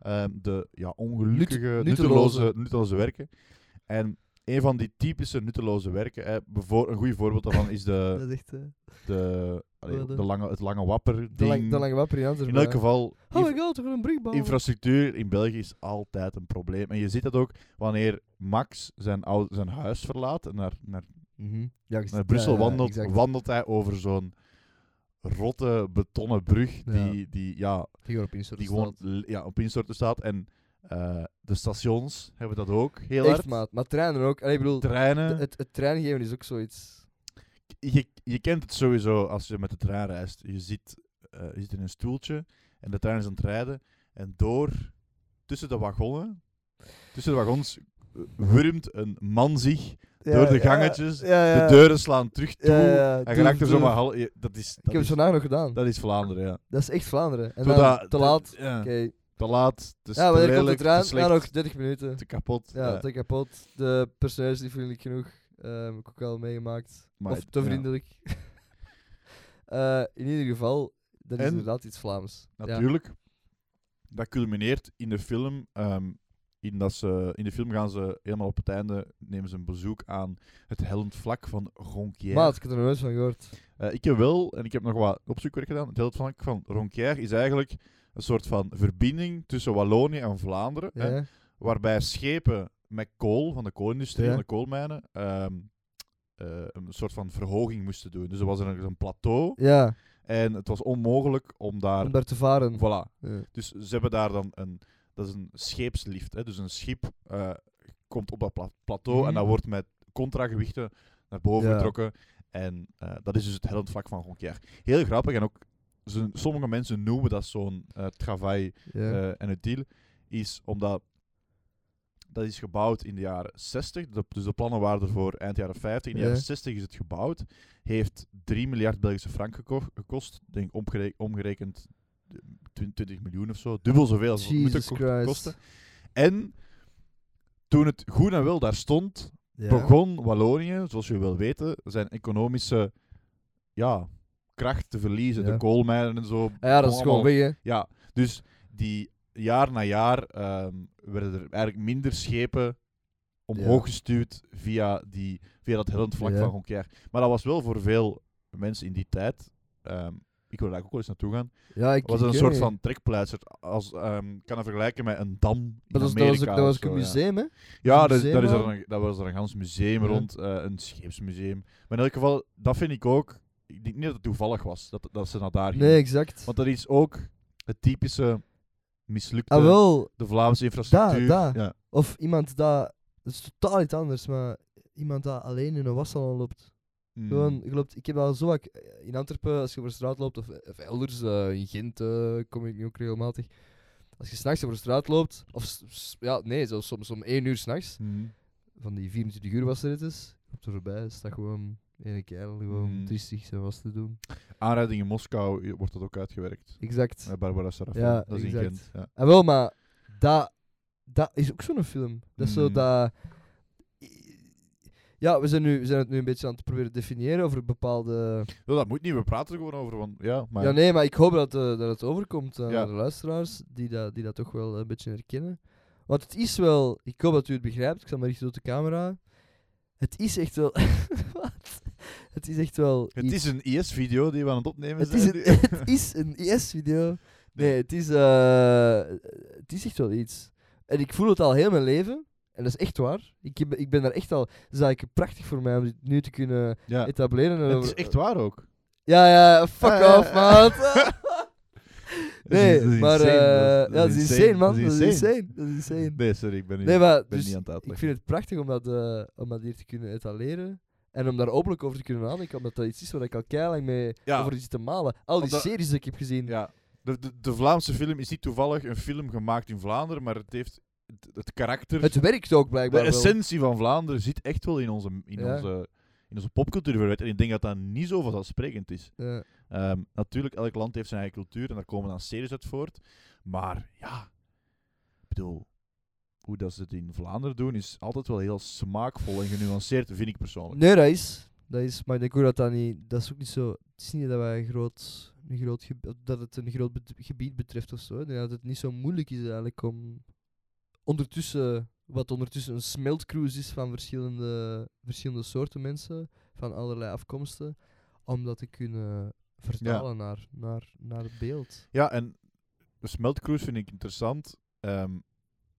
Ehm, de ja, ongelukkige,
Nut- nutteloze.
nutteloze, nutteloze werken. En een van die typische nutteloze werken, eh, bevoor- een goed voorbeeld daarvan is de,
Dat is echt... eh,
de, allee,
Worden.
de lange, het lange wapper.
de lang-
ding.
de lange wapper in Antwerpen,
in elk
ja.
geval,
Oh my god, we gaan een brug bouwen.
infrastructuur in België is altijd een probleem. En je ziet dat ook wanneer Max zijn, ou- zijn huis verlaat en naar, naar,
Mhm. Ja, je ziet-
naar Brussel
ja, ja,
wandelt,
exact.
wandelt hij over zo'n rotte betonnen brug die, die, ja,
Die gewoon op Instagram
die gewoon
staat.
l- ja, op instorten staat. En eh, de stations hebben dat ook heel
Echt,
hard.
maat. Maar treinen ook. Allee, ik bedoel,
Treinen.
de- het, het treingeven is ook zoiets...
je, je kent het sowieso als je met de trein reist. Je zit, eh, je zit in een stoeltje en de trein is aan het rijden. En door, tussen de wagonnen, tussen de wagons, eh, wurmt een man zich door de gangetjes.
Ja, ja.
De deuren slaan terug toe.
Ja, ja,
en je
doe-
raakt er
doe-
zomaar... hal- je- Dat is,
Ik
dat,
heb het
is,
vandaag nog gedaan.
dat is Vlaanderen, ja.
Dat is echt Vlaanderen. En
Zo
dan
dat-
te laat. Oké.
ja, Te laat, te,
Ja,
te
wanneer komt de
lelijk, te
trein?
slecht,
Ja, nog 30 minuten.
te kapot.
Ja,
ja.
te kapot. De personage die vriendelijk genoeg. Ehm heb ik ook al meegemaakt.
Maar
of
het-
te
ja.
vriendelijk. Eh, in ieder geval, dat is
En?
inderdaad iets Vlaams. Ja.
Natuurlijk. Dat culmineert in de film. ehm, in, dat ze, in de film gaan ze helemaal op het einde nemen ze een bezoek aan het hellend vlak van Ronquière.
Maat, ik heb er nog nooit van gehoord.
Eh, ik heb wel, en ik heb nog wat opzoekwerk gedaan, het hellend vlak van Ronquière is eigenlijk een soort van verbinding tussen Wallonië en Vlaanderen. hè,
Ja.
waarbij schepen met kool, van de koolindustrie,
Ja.
van de koolmijnen, ehm, eh, een soort van verhoging moesten doen. Dus er was een, een plateau
ja,
en het was onmogelijk om daar...
om daar te varen.
Voilà,
Ja.
dus ze hebben daar dan een, dat is een scheepslift. Hè? Dus een schip eh, komt op dat pla- plateau en
Mhm.
dat wordt met contragewichten naar boven
Ja.
getrokken. En eh, dat is dus het hellend vlak van Gonquière. Heel grappig en ook, ze- sommige mensen noemen dat zo'n eh travail
Ja.
eh, en het deal is omdat dat is gebouwd in de jaren 60. De- dus de plannen waren er voor eind jaren 50. In de
Ja.
jaren 60 is het gebouwd. Heeft 3 miljard Belgische frank geko- gekost. Denk omgere- omgerekend eh, 20 miljoen of zo. Dubbel zoveel als het moet
Jesus
geko-
Christ.
kosten. En toen het goed en wel daar stond,
Ja.
begon Wallonië, zoals je wil weten, zijn economische ja, kracht te verliezen.
Ja.
De koolmijnen en zo.
Ah ja, dat is gewoon
allemaal-
weg, hè.
ja, dus die jaar na jaar ehm, werden er eigenlijk minder schepen omhoog
Ja.
gestuurd via, die, via dat hellend vlak
Ja.
van Gonquière. Maar dat was wel voor veel mensen in die tijd, ehm, ik wil daar eigenlijk ook wel eens naartoe gaan,
Ja, ik
was dat een
ik
soort
weet niet.
van trekpleister. Als, ehm, kan het vergelijken met een dam in
Maar dat was, dat
Amerika.
was, ook- dat
of
was ook
zo,
een
ja.
museum, hè?
Ja,
Een
daar is, daar is
museum
er een, daar was er een gans museum
Ja.
rond, eh, een scheepsmuseum. Maar in elk geval, dat vind ik ook, ik denk niet dat het toevallig was dat, dat ze naar daar gingen.
Nee, exact.
Want dat is ook het typische mislukte
Ah, wel.
de Vlaamse infrastructuur.
Daar, daar.
Ja.
Of iemand dat... Dat is totaal iets anders, maar... Iemand dat alleen in een wassalon loopt.
Mm.
Gewoon, ik, loop, ik heb al zo vaak eh, in Antwerpen, als je over straat loopt, of, of elders, eh, in Gent eh, kom ik nu ook regelmatig. Als je s'nachts over straat loopt, of s- s- ja, nee, zelfs soms om 1 uur s'nachts,
Mm.
van die 24 uur was er het is, op er voorbij, staat gewoon een kerel gewoon
Mm.
triestig zijn was te doen.
Aanrijding in Moskou eh, wordt dat ook uitgewerkt.
Exact.
Met Barbara Sarafin,
Ja,
dat is in
exact.
Gent. Ja.
En wel, maar dat, dat is ook zo'n film. Dat is zo
Mm.
dat... Ja, we zijn, nu, we zijn het nu een beetje aan het proberen te definiëren over bepaalde...
Wel, dat moet niet, we praten er gewoon over. Want, ja, maar
Ja, nee, maar ik hoop dat, eh, dat het overkomt aan
Ja.
de luisteraars, die dat, die dat toch wel een beetje herkennen. Want het is wel, ik hoop dat u het begrijpt, ik sta maar richten op de camera. Het is echt wel. Wat? Het is echt wel.
Het
iets-
is een IS-video die we aan het opnemen
het is
zijn.
een, het is een IS-video. Nee, het is, eh, het is echt wel iets. En ik voel het al heel mijn leven. En dat is echt waar. Ik, heb, ik ben daar echt al. Het is eigenlijk prachtig voor mij om dit nu te kunnen
ja.
etableren. en
het
over-
is echt waar ook.
Ja, ja, fuck
Ja, ja,
off,
ja.
maat. Nee,
Dat is
maar
insane, dat
eh,
is-
ja, dat is insane, man. Dat is
insane.
insane. Dat is insane.
Nee, sorry, ik ben niet,
Nee, maar
ik ben
dus
niet aan het uitleggen.
ik vind het prachtig om dat, eh, om dat hier te kunnen etaleren. En om daar openlijk over te kunnen nadenken, omdat dat iets is waar ik al keilang mee
Ja.
over zit te malen. Al die
Omdat-
series die ik heb gezien.
Ja. De, de, de Vlaamse film is niet toevallig een film gemaakt in Vlaanderen, maar het heeft het, het karakter
Het werkt ook blijkbaar
De
wel.
essentie van Vlaanderen zit echt wel in onze, in
Ja.
onze, in in onze popcultuur verwijt. En ik denk dat dat niet zo vanzelfsprekend is.
Ja.
Ehm, natuurlijk, elk land heeft zijn eigen cultuur en daar komen dan series uit voort. Maar ja, ik bedoel, hoe dat ze het in Vlaanderen doen is altijd wel heel smaakvol en genuanceerd, vind ik persoonlijk.
Nee, dat is. Dat is, maar ik denk ook dat dat niet... Dat is ook niet zo... Het is niet dat, wij een groot, een groot gebe- dat het een groot bet- gebied betreft of zo. Ik denk dat het niet zo moeilijk is eigenlijk om... Ondertussen... Wat ondertussen een smeltcruise is van verschillende, verschillende soorten mensen. Van allerlei afkomsten. Om dat te kunnen vertalen naar, naar, naar het beeld.
Ja, en de smeltcruise vind ik interessant, ehm,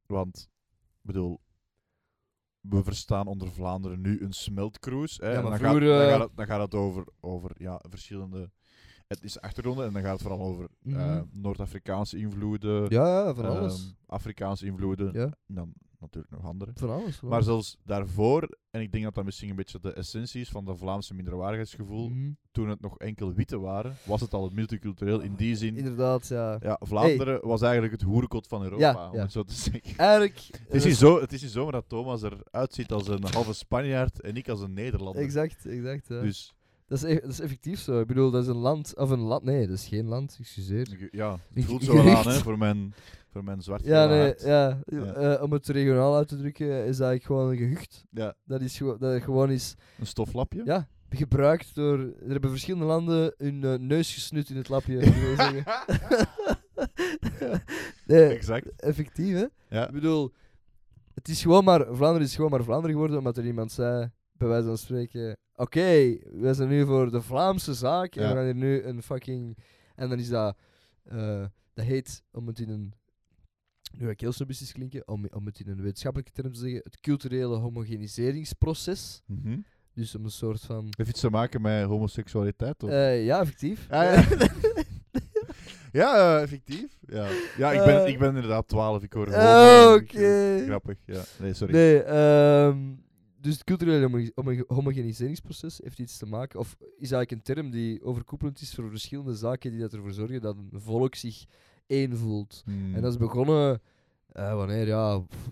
want, ik bedoel, we verstaan onder Vlaanderen nu een smeltcruise. Hè,
Ja,
en
maar
dan, gaat, dan,
vroeger, eh,
gaat het, dan gaat het over, over ja, verschillende etnische achtergronden en dan gaat het vooral over eh,
Mhm.
Noord-Afrikaanse invloeden.
Ja, ja, van
Ehm,
alles.
Afrikaanse invloeden.
Ja.
En dan natuurlijk nog andere.
Van alles. Van
Maar
alles.
zelfs daarvoor, en ik denk dat dat misschien een beetje de essentie is van dat Vlaamse minderwaardigheidsgevoel,
Mhm.
toen het nog enkel witte waren, was het al multicultureel in die zin.
Inderdaad, ja.
Ja, Vlaanderen was eigenlijk het hoerenkot van Europa,
Ja,
om
ja.
het zo te zeggen.
Eigenlijk... eh,
Het is, niet zo, het is niet zomaar dat Thomas eruit ziet als een halve Spanjaard en ik als een Nederlander.
Exact, exact. Ja.
Dus
Dat is, e- dat is effectief zo. Ik bedoel, dat is een land. Of een land. Nee, dat is geen land, excuseer.
ja,
Ik-
het voelt
ik-
zo wel
ik-
aan hè, voor, mijn, voor mijn zwarte
Ja, nee,
hart.
ja.
Ja.
Eh, om het regionaal uit te drukken, is eigenlijk gewoon een gehucht.
Ja,
Dat is gewoon, dat gewoon is
Een stoflapje.
ja, gebruikt door. Er hebben verschillende landen hun eh, neus gesnut in het lapje. ik wil zeggen. nee,
Exact.
effectief, hè?
Ja.
Ik bedoel, het is gewoon maar. Vlaanderen is gewoon maar Vlaanderen geworden omdat er iemand zei, bij wijze van spreken: Oké, wij zijn nu voor de Vlaamse zaak en
Ja.
we gaan hier nu een fucking. En dan is dat. eh, dat heet, om het in een. Nu ga ik heel snobistisch klinken, om, om het in een wetenschappelijke term te zeggen: het culturele homogeniseringsproces.
Mhm.
Dus om een soort van.
Heeft iets te maken met homoseksualiteit? Of?
eh, ja, effectief.
Ah, ja. ja, eh, effectief. Ja, ja ik, ben,
Eh.
ik ben inderdaad 12. Ik hoor
Oh,
gewoon, eh,
Oké.
Grappig, ja. Nee, sorry.
Nee, ehm, dus het culturele homo- homo- homogeniseringsproces heeft iets te maken, of is eigenlijk een term die overkoepelend is voor verschillende zaken die dat ervoor zorgen dat een volk zich één voelt.
Hmm.
En dat is begonnen, eh, wanneer, ja, pff,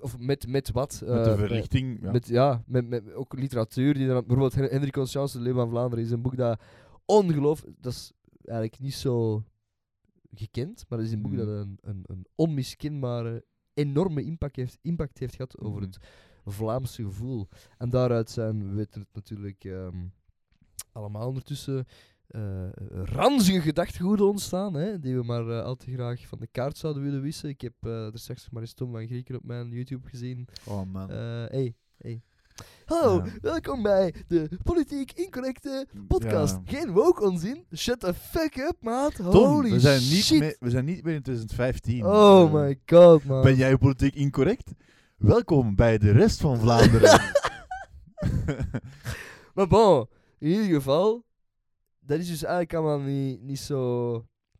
of met, met wat?
Met
eh,
de verlichting. Ja.
Met, ja, met, met, ook literatuur. Die dan, bijvoorbeeld Hen- Hendrik Conscience, De Leeuw van Vlaanderen, is een boek dat ongelooflijk... Dat is eigenlijk niet zo gekend, maar dat is een boek
Mhm.
dat een, een, een onmiskenbare, enorme impact heeft, impact heeft gehad over
Mhm.
het Vlaamse gevoel. En daaruit zijn, we weten het natuurlijk ehm, allemaal ondertussen, eh ranzige gedachtegoeden ontstaan, hè, die we maar eh, al te graag van de kaart zouden willen wissen. Ik heb eh, er straks nog maar eens Tom van Grieken op mijn YouTube gezien.
Oh man.
Eh, hey, hey. Hallo,
Ja.
welkom bij de Politiek Incorrecte podcast.
Ja.
Geen woke onzin. Shut the fuck up, maat.
Tom,
Holy
we zijn, niet
shit.
meer, we zijn niet meer in 2015.
Oh
Eh,
my god, man.
Ben jij politiek incorrect? Welkom bij de rest van Vlaanderen.
Maar bon, in ieder geval, dat is dus eigenlijk allemaal niet, niet zo...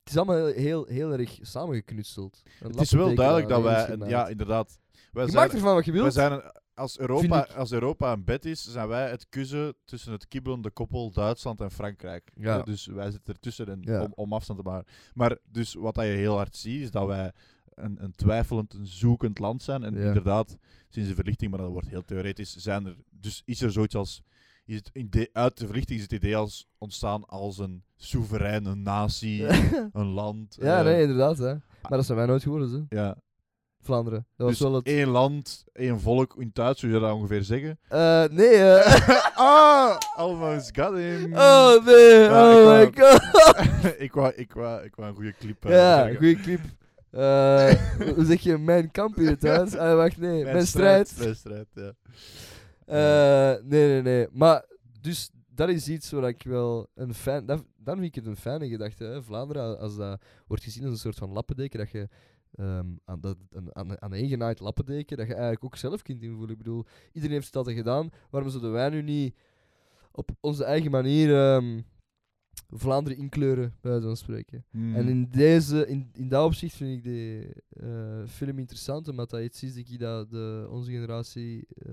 Het is allemaal heel, heel, heel erg samengeknutseld. Een
Het is wel
lappendeken
duidelijk dat
aan
wij...
eens gemaakt.
ja, inderdaad. Wij
je
zijn-
maakt ervan wat je
We
wilt.
zijn een- als, Europa,
Vind
als Europa een bed is, zijn wij het kussen tussen het kibbelende koppel Duitsland en Frankrijk.
Ja.
Eh, Dus wij zitten ertussen en,
Ja.
om, om afstand te maken. Maar dus wat dat je heel hard ziet, is dat wij een, een twijfelend, een zoekend land zijn. En
Ja.
inderdaad, sinds de verlichting, maar dat wordt heel theoretisch, zijn er, dus is er zoiets als... Is het idee, uit de verlichting is het idee als ontstaan als een soevereine natie, een land.
ja,
eh,
nee, inderdaad. Hè. Maar dat zijn wij nooit geworden, hè.
ja.
Vlaanderen. Dat was
Dus
wel het...
één land, één volk, in Duits, hoe zou je dat ongeveer zeggen?
Eh, nee, eh...
ah, almost got him.
Oh nee,
Ehm, Ja,
oh my
ik
god.
ik, wou, ik, wou, ik wou een goede clip. eh,
ja,
zeggen.
goede clip. Eh, hoe zeg je mijn kamp in het huis? Ah, wacht, nee, mijn, strijd.
Mijn strijd, ja.
Eh, nee, nee, nee. Maar, dus, dat is iets waar ik wel een fijn... Dat, dan vind ik het een fijne gedachte, hè. Vlaanderen, als dat wordt gezien als een soort van lappendeken, dat je... ehm, aan, dat, een, aan, aan een genaaid lappendeken, dat je eigenlijk ook zelf kunt invoelen. Ik bedoel, iedereen heeft het altijd gedaan. Waarom zouden wij nu niet op onze eigen manier ehm, Vlaanderen inkleuren, bij wijze van spreken?
Hmm.
En in, deze, in, in dat opzicht vind ik de eh, film interessant, omdat dat iets is dat ik dat de, onze generatie, eh,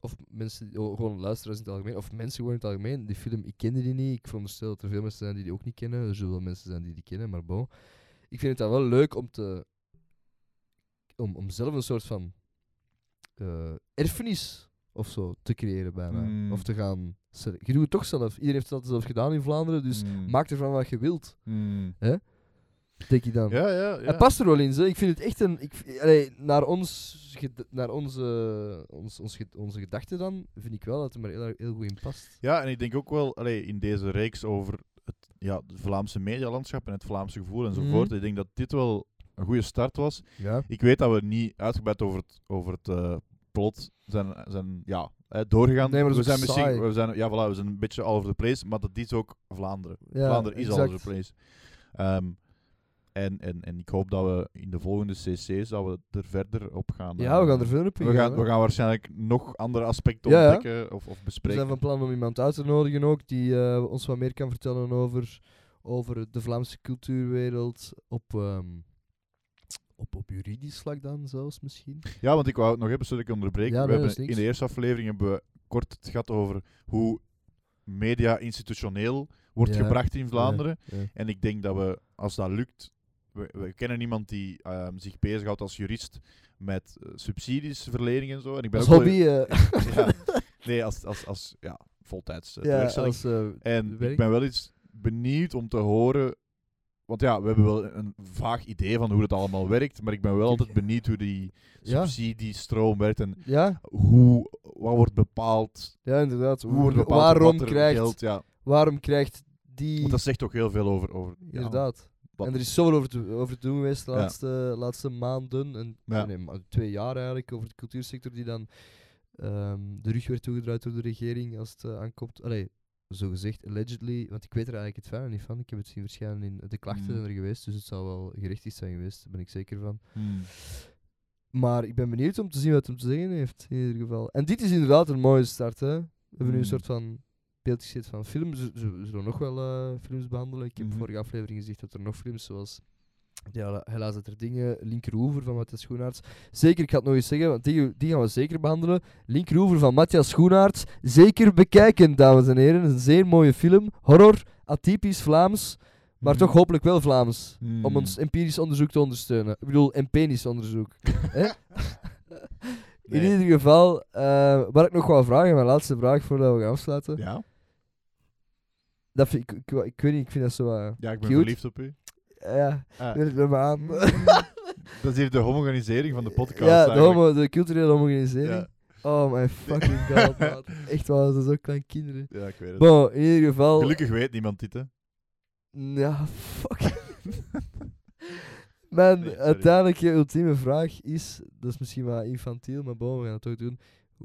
of mensen, o- gewoon luisteraars in het algemeen, of mensen gewoon in het algemeen, die film, ik kende die niet. Ik veronderstel dat er veel mensen zijn die die ook niet kennen. Er zullen wel mensen zijn die die kennen, maar bon. Ik vind het dan wel leuk om, te, om, om zelf een soort van eh, erfenis of zo te creëren bijna.
Mm.
Of te gaan. sele- Je doet het toch zelf. Iedereen heeft dat zelf gedaan in Vlaanderen, dus
Mm.
maak ervan wat je wilt,
Mm.
denk ik dan.
Ja, ja,
Het
ja.
past er wel in, hè. ik vind het echt een. Ik, v- allee, naar ons, ged- naar onze, ons, ons, ged- onze gedachten dan, vind ik wel dat het er heel, heel goed in past.
Ja, en ik denk ook wel allee, in deze reeks over het ja, het Vlaamse medialandschap en het Vlaamse gevoel enzovoort.
Mhm.
Ik denk dat dit wel een goede start was.
Ja.
Ik weet dat we niet uitgebreid over het, over het eh, plot zijn, zijn ja, hè, doorgegaan.
Nee, maar dat
we
is
zijn
ook
misschien
saai.
we zijn, ja, voilà, we zijn een beetje all over the place, maar dat is ook Vlaanderen. Vlaanderen is al
exact.
over the place. Ehm, en, en, en ik hoop dat we in de volgende CC's dat we er verder op gaan.
Ja, we
eh,
gaan er verder op
we
ingaan,
gaan,
hè.
we gaan waarschijnlijk nog andere aspecten
Ja, ja.
ontdekken of, of
We
bespreken.
zijn van plan om iemand uit te nodigen ook, die eh, ons wat meer kan vertellen over, over de Vlaamse cultuurwereld op, ehm, op, op juridisch vlak dan zelfs misschien.
Ja, want ik wou het nog even zodat ik onderbreek.
Ja, nee,
we
dat
hebben
is niks.
in de eerste aflevering hebben we kort het gehad over hoe media institutioneel wordt
Ja,
gebracht in Vlaanderen.
ja.
En ik denk dat we, als dat lukt, we, we kennen iemand die ehm, zich bezighoudt als jurist met eh, subsidiesverlening en zo. En ik ben
Als
ook
hobby,
wel-
eh,
Ja, nee, als, als, als ja, voltijds. eh,
ja,
tewerkstelling.
als, eh,
En
werk.
ik ben wel eens benieuwd om te horen. Want ja, we hebben wel een vaag idee van hoe dat allemaal werkt. Maar ik ben wel altijd benieuwd hoe die
ja,
subsidiestroom werkt. En
ja,
hoe, wat wordt bepaald?
ja, inderdaad.
Hoe wordt bepaald
waarom,
wat er
krijgt,
geldt? Ja,
waarom krijgt die...
want dat zegt toch heel veel over. over ja,
Inderdaad.
wat-
En er is zoveel over te, over te doen geweest de
Ja.
laatste, laatste maanden. En,
Ja.
nee, maar twee jaar eigenlijk over de cultuursector die dan ehm, de rug werd toegedraaid door de regering als het eh, aankomt. Allee, zo gezegd, allegedly. Want ik weet er eigenlijk het verder niet van. Ik heb het zien verschijnen in de klachten
Mm.
zijn er geweest. Dus het zou wel gerechtig zijn geweest. Daar ben ik zeker van.
Hmm.
Maar ik ben benieuwd om te zien wat hem te zeggen heeft. In ieder geval. En dit is inderdaad een mooie start. Hè? We hebben nu
Mm.
een soort van beeld gezet van films. Z- z- We zullen nog wel eh, films behandelen. Ik heb
Mhm.
vorige aflevering gezegd dat er nog films zoals. Ja, helaas dat er dingen. Linkeroever van Matthias Schoenaerts. Zeker, ik ga het nog eens zeggen, want die, die gaan we zeker behandelen. Linkeroever van Matthias Schoenaerts. Zeker bekijken, dames en heren. Een zeer mooie film. Horror, atypisch Vlaams, maar toch hopelijk wel Vlaams.
Hmm.
Om ons empirisch onderzoek te ondersteunen. Ik bedoel, empirisch onderzoek. Hè? In
Nee.
ieder geval, eh wat ik nog wou vragen, mijn laatste vraag voordat we gaan afsluiten.
Ja?
Dat vind ik, ik, wa- ik weet niet, ik vind dat zo... eh,
ja, ik ben
Cute.
verliefd op u.
ja,
Ah.
wil ik er maar aan.
dat is hier de homogenisering van de podcast.
ja, de,
eigenlijk.
homo, de culturele homogenisering.
Ja.
Oh my fucking god, maat. Echt waar, dat is ook klein kinderen.
ja, ik weet het.
Bon, in ieder geval...
Gelukkig weet niemand dit, hè?
Ja, fuck. Mijn
Nee, sorry.
uiteindelijk eh, ultieme vraag is, dat is misschien wel infantiel, maar bon, we gaan het toch doen.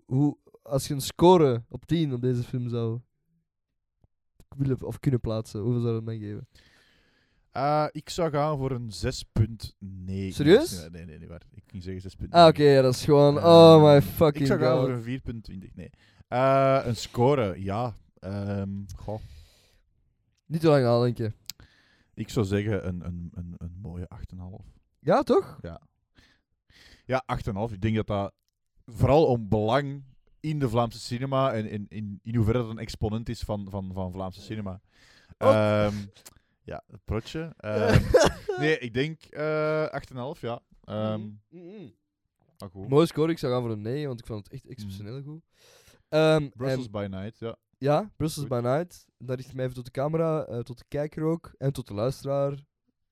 Hoe, als je een score op 10 op deze film zou willen of kunnen plaatsen, hoeveel zou dat mij geven?
Ah, ik zou gaan voor een 6.9.
Serieus?
Nee, nee, nee, niet waar. Ik ging zeggen 6.9.
Ah, oké, ja, dat is gewoon,
Eh,
oh my fucking
Ik zou gaan
god.
voor een 4.20. Nee. Eh, een score, ja. Ehm, goh,
Niet te lang nadenken.
ik zou zeggen een, een, een, een mooie 8,5.
Ja, toch?
Ja, 8,5. Ik denk dat dat vooral om belang in de Vlaamse cinema en in, in, in hoeverre dat een exponent is van, van, van Vlaamse cinema.
Oh.
Ehm, ja, het protje. Ehm, nee, ik denk eh 8,5, ja. Ehm
Mhm.
maar goed.
Mooi score, ik zou gaan voor een 9, want ik vond het echt exceptioneel goed. Ehm, en-
Mm. Brussels by Night, ja.
Ja, Brussels
Goed.
by Night. Daar richt ik mij even tot de camera, eh, tot de kijker ook en tot de luisteraar.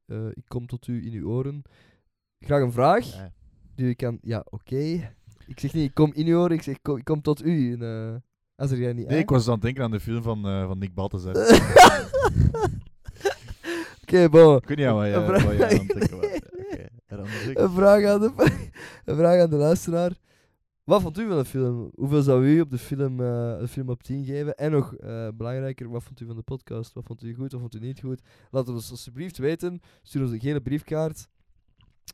Eh, ik kom tot u in uw oren. Graag een vraag
Ja.
die u kan. Ja, oké. Ik zeg niet, ik kom in uw oren, ik zeg, kom, ik kom tot u. In, eh, als er jij niet.
Nee,
eh?
ik was aan het denken aan de film van, eh, van Nick Balthazar.
Oké, bon.
Ik weet niet aan wat je,
Een
wat
vraag-
je aan het denken was. Oké, en dan zeg ik-
Een vraag, aan de, een vraag aan de luisteraar. Wat vond u van de film? Hoeveel zou u op de film, eh, de film op 10 geven? En nog eh, belangrijker, wat vond u van de podcast? Wat vond u goed, wat vond u niet goed? Laat het ons alsjeblieft weten. Stuur ons een gele briefkaart.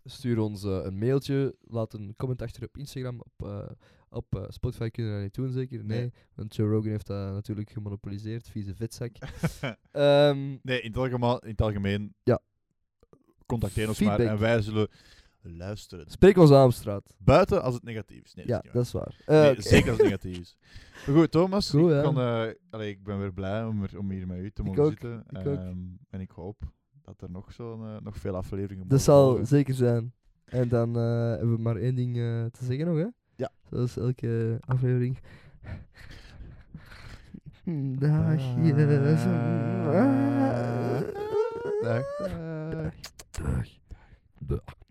Stuur ons eh, een mailtje. Laat een comment achter op Instagram. Op, eh, op eh, Spotify kunnen we dat niet doen, zeker? Nee,
Nee.
want Joe Rogan heeft dat natuurlijk gemonopoliseerd. Vieze vetzak. Ehm,
Nee, in het algemeen, in het algemeen
Ja.
contacteer ons maar
Feedback.
en wij zullen luisteren.
spreek ons aan op straat.
Buiten als het negatief is. Nee, dat
ja,
is niet waar.
dat is waar. Eh,
Nee,
oké.
Zeker als het negatief is. Maar goed, Thomas,
Goed,
ik,
hè?
kan, eh, allee, ik ben weer blij om, er- om hier met u te
Ik
mogen
ook,
zitten.
ik ook.
Ehm, En ik hoop dat er nog, zo'n, eh, nog veel afleveringen
Dat
mogen
zal
volgen.
zeker zijn. En dan eh, hebben we maar één ding eh, te zeggen nog, hè?
Ja.
Zoals elke aflevering. Dagjes.
Dag.
Dag. Dag. Dag.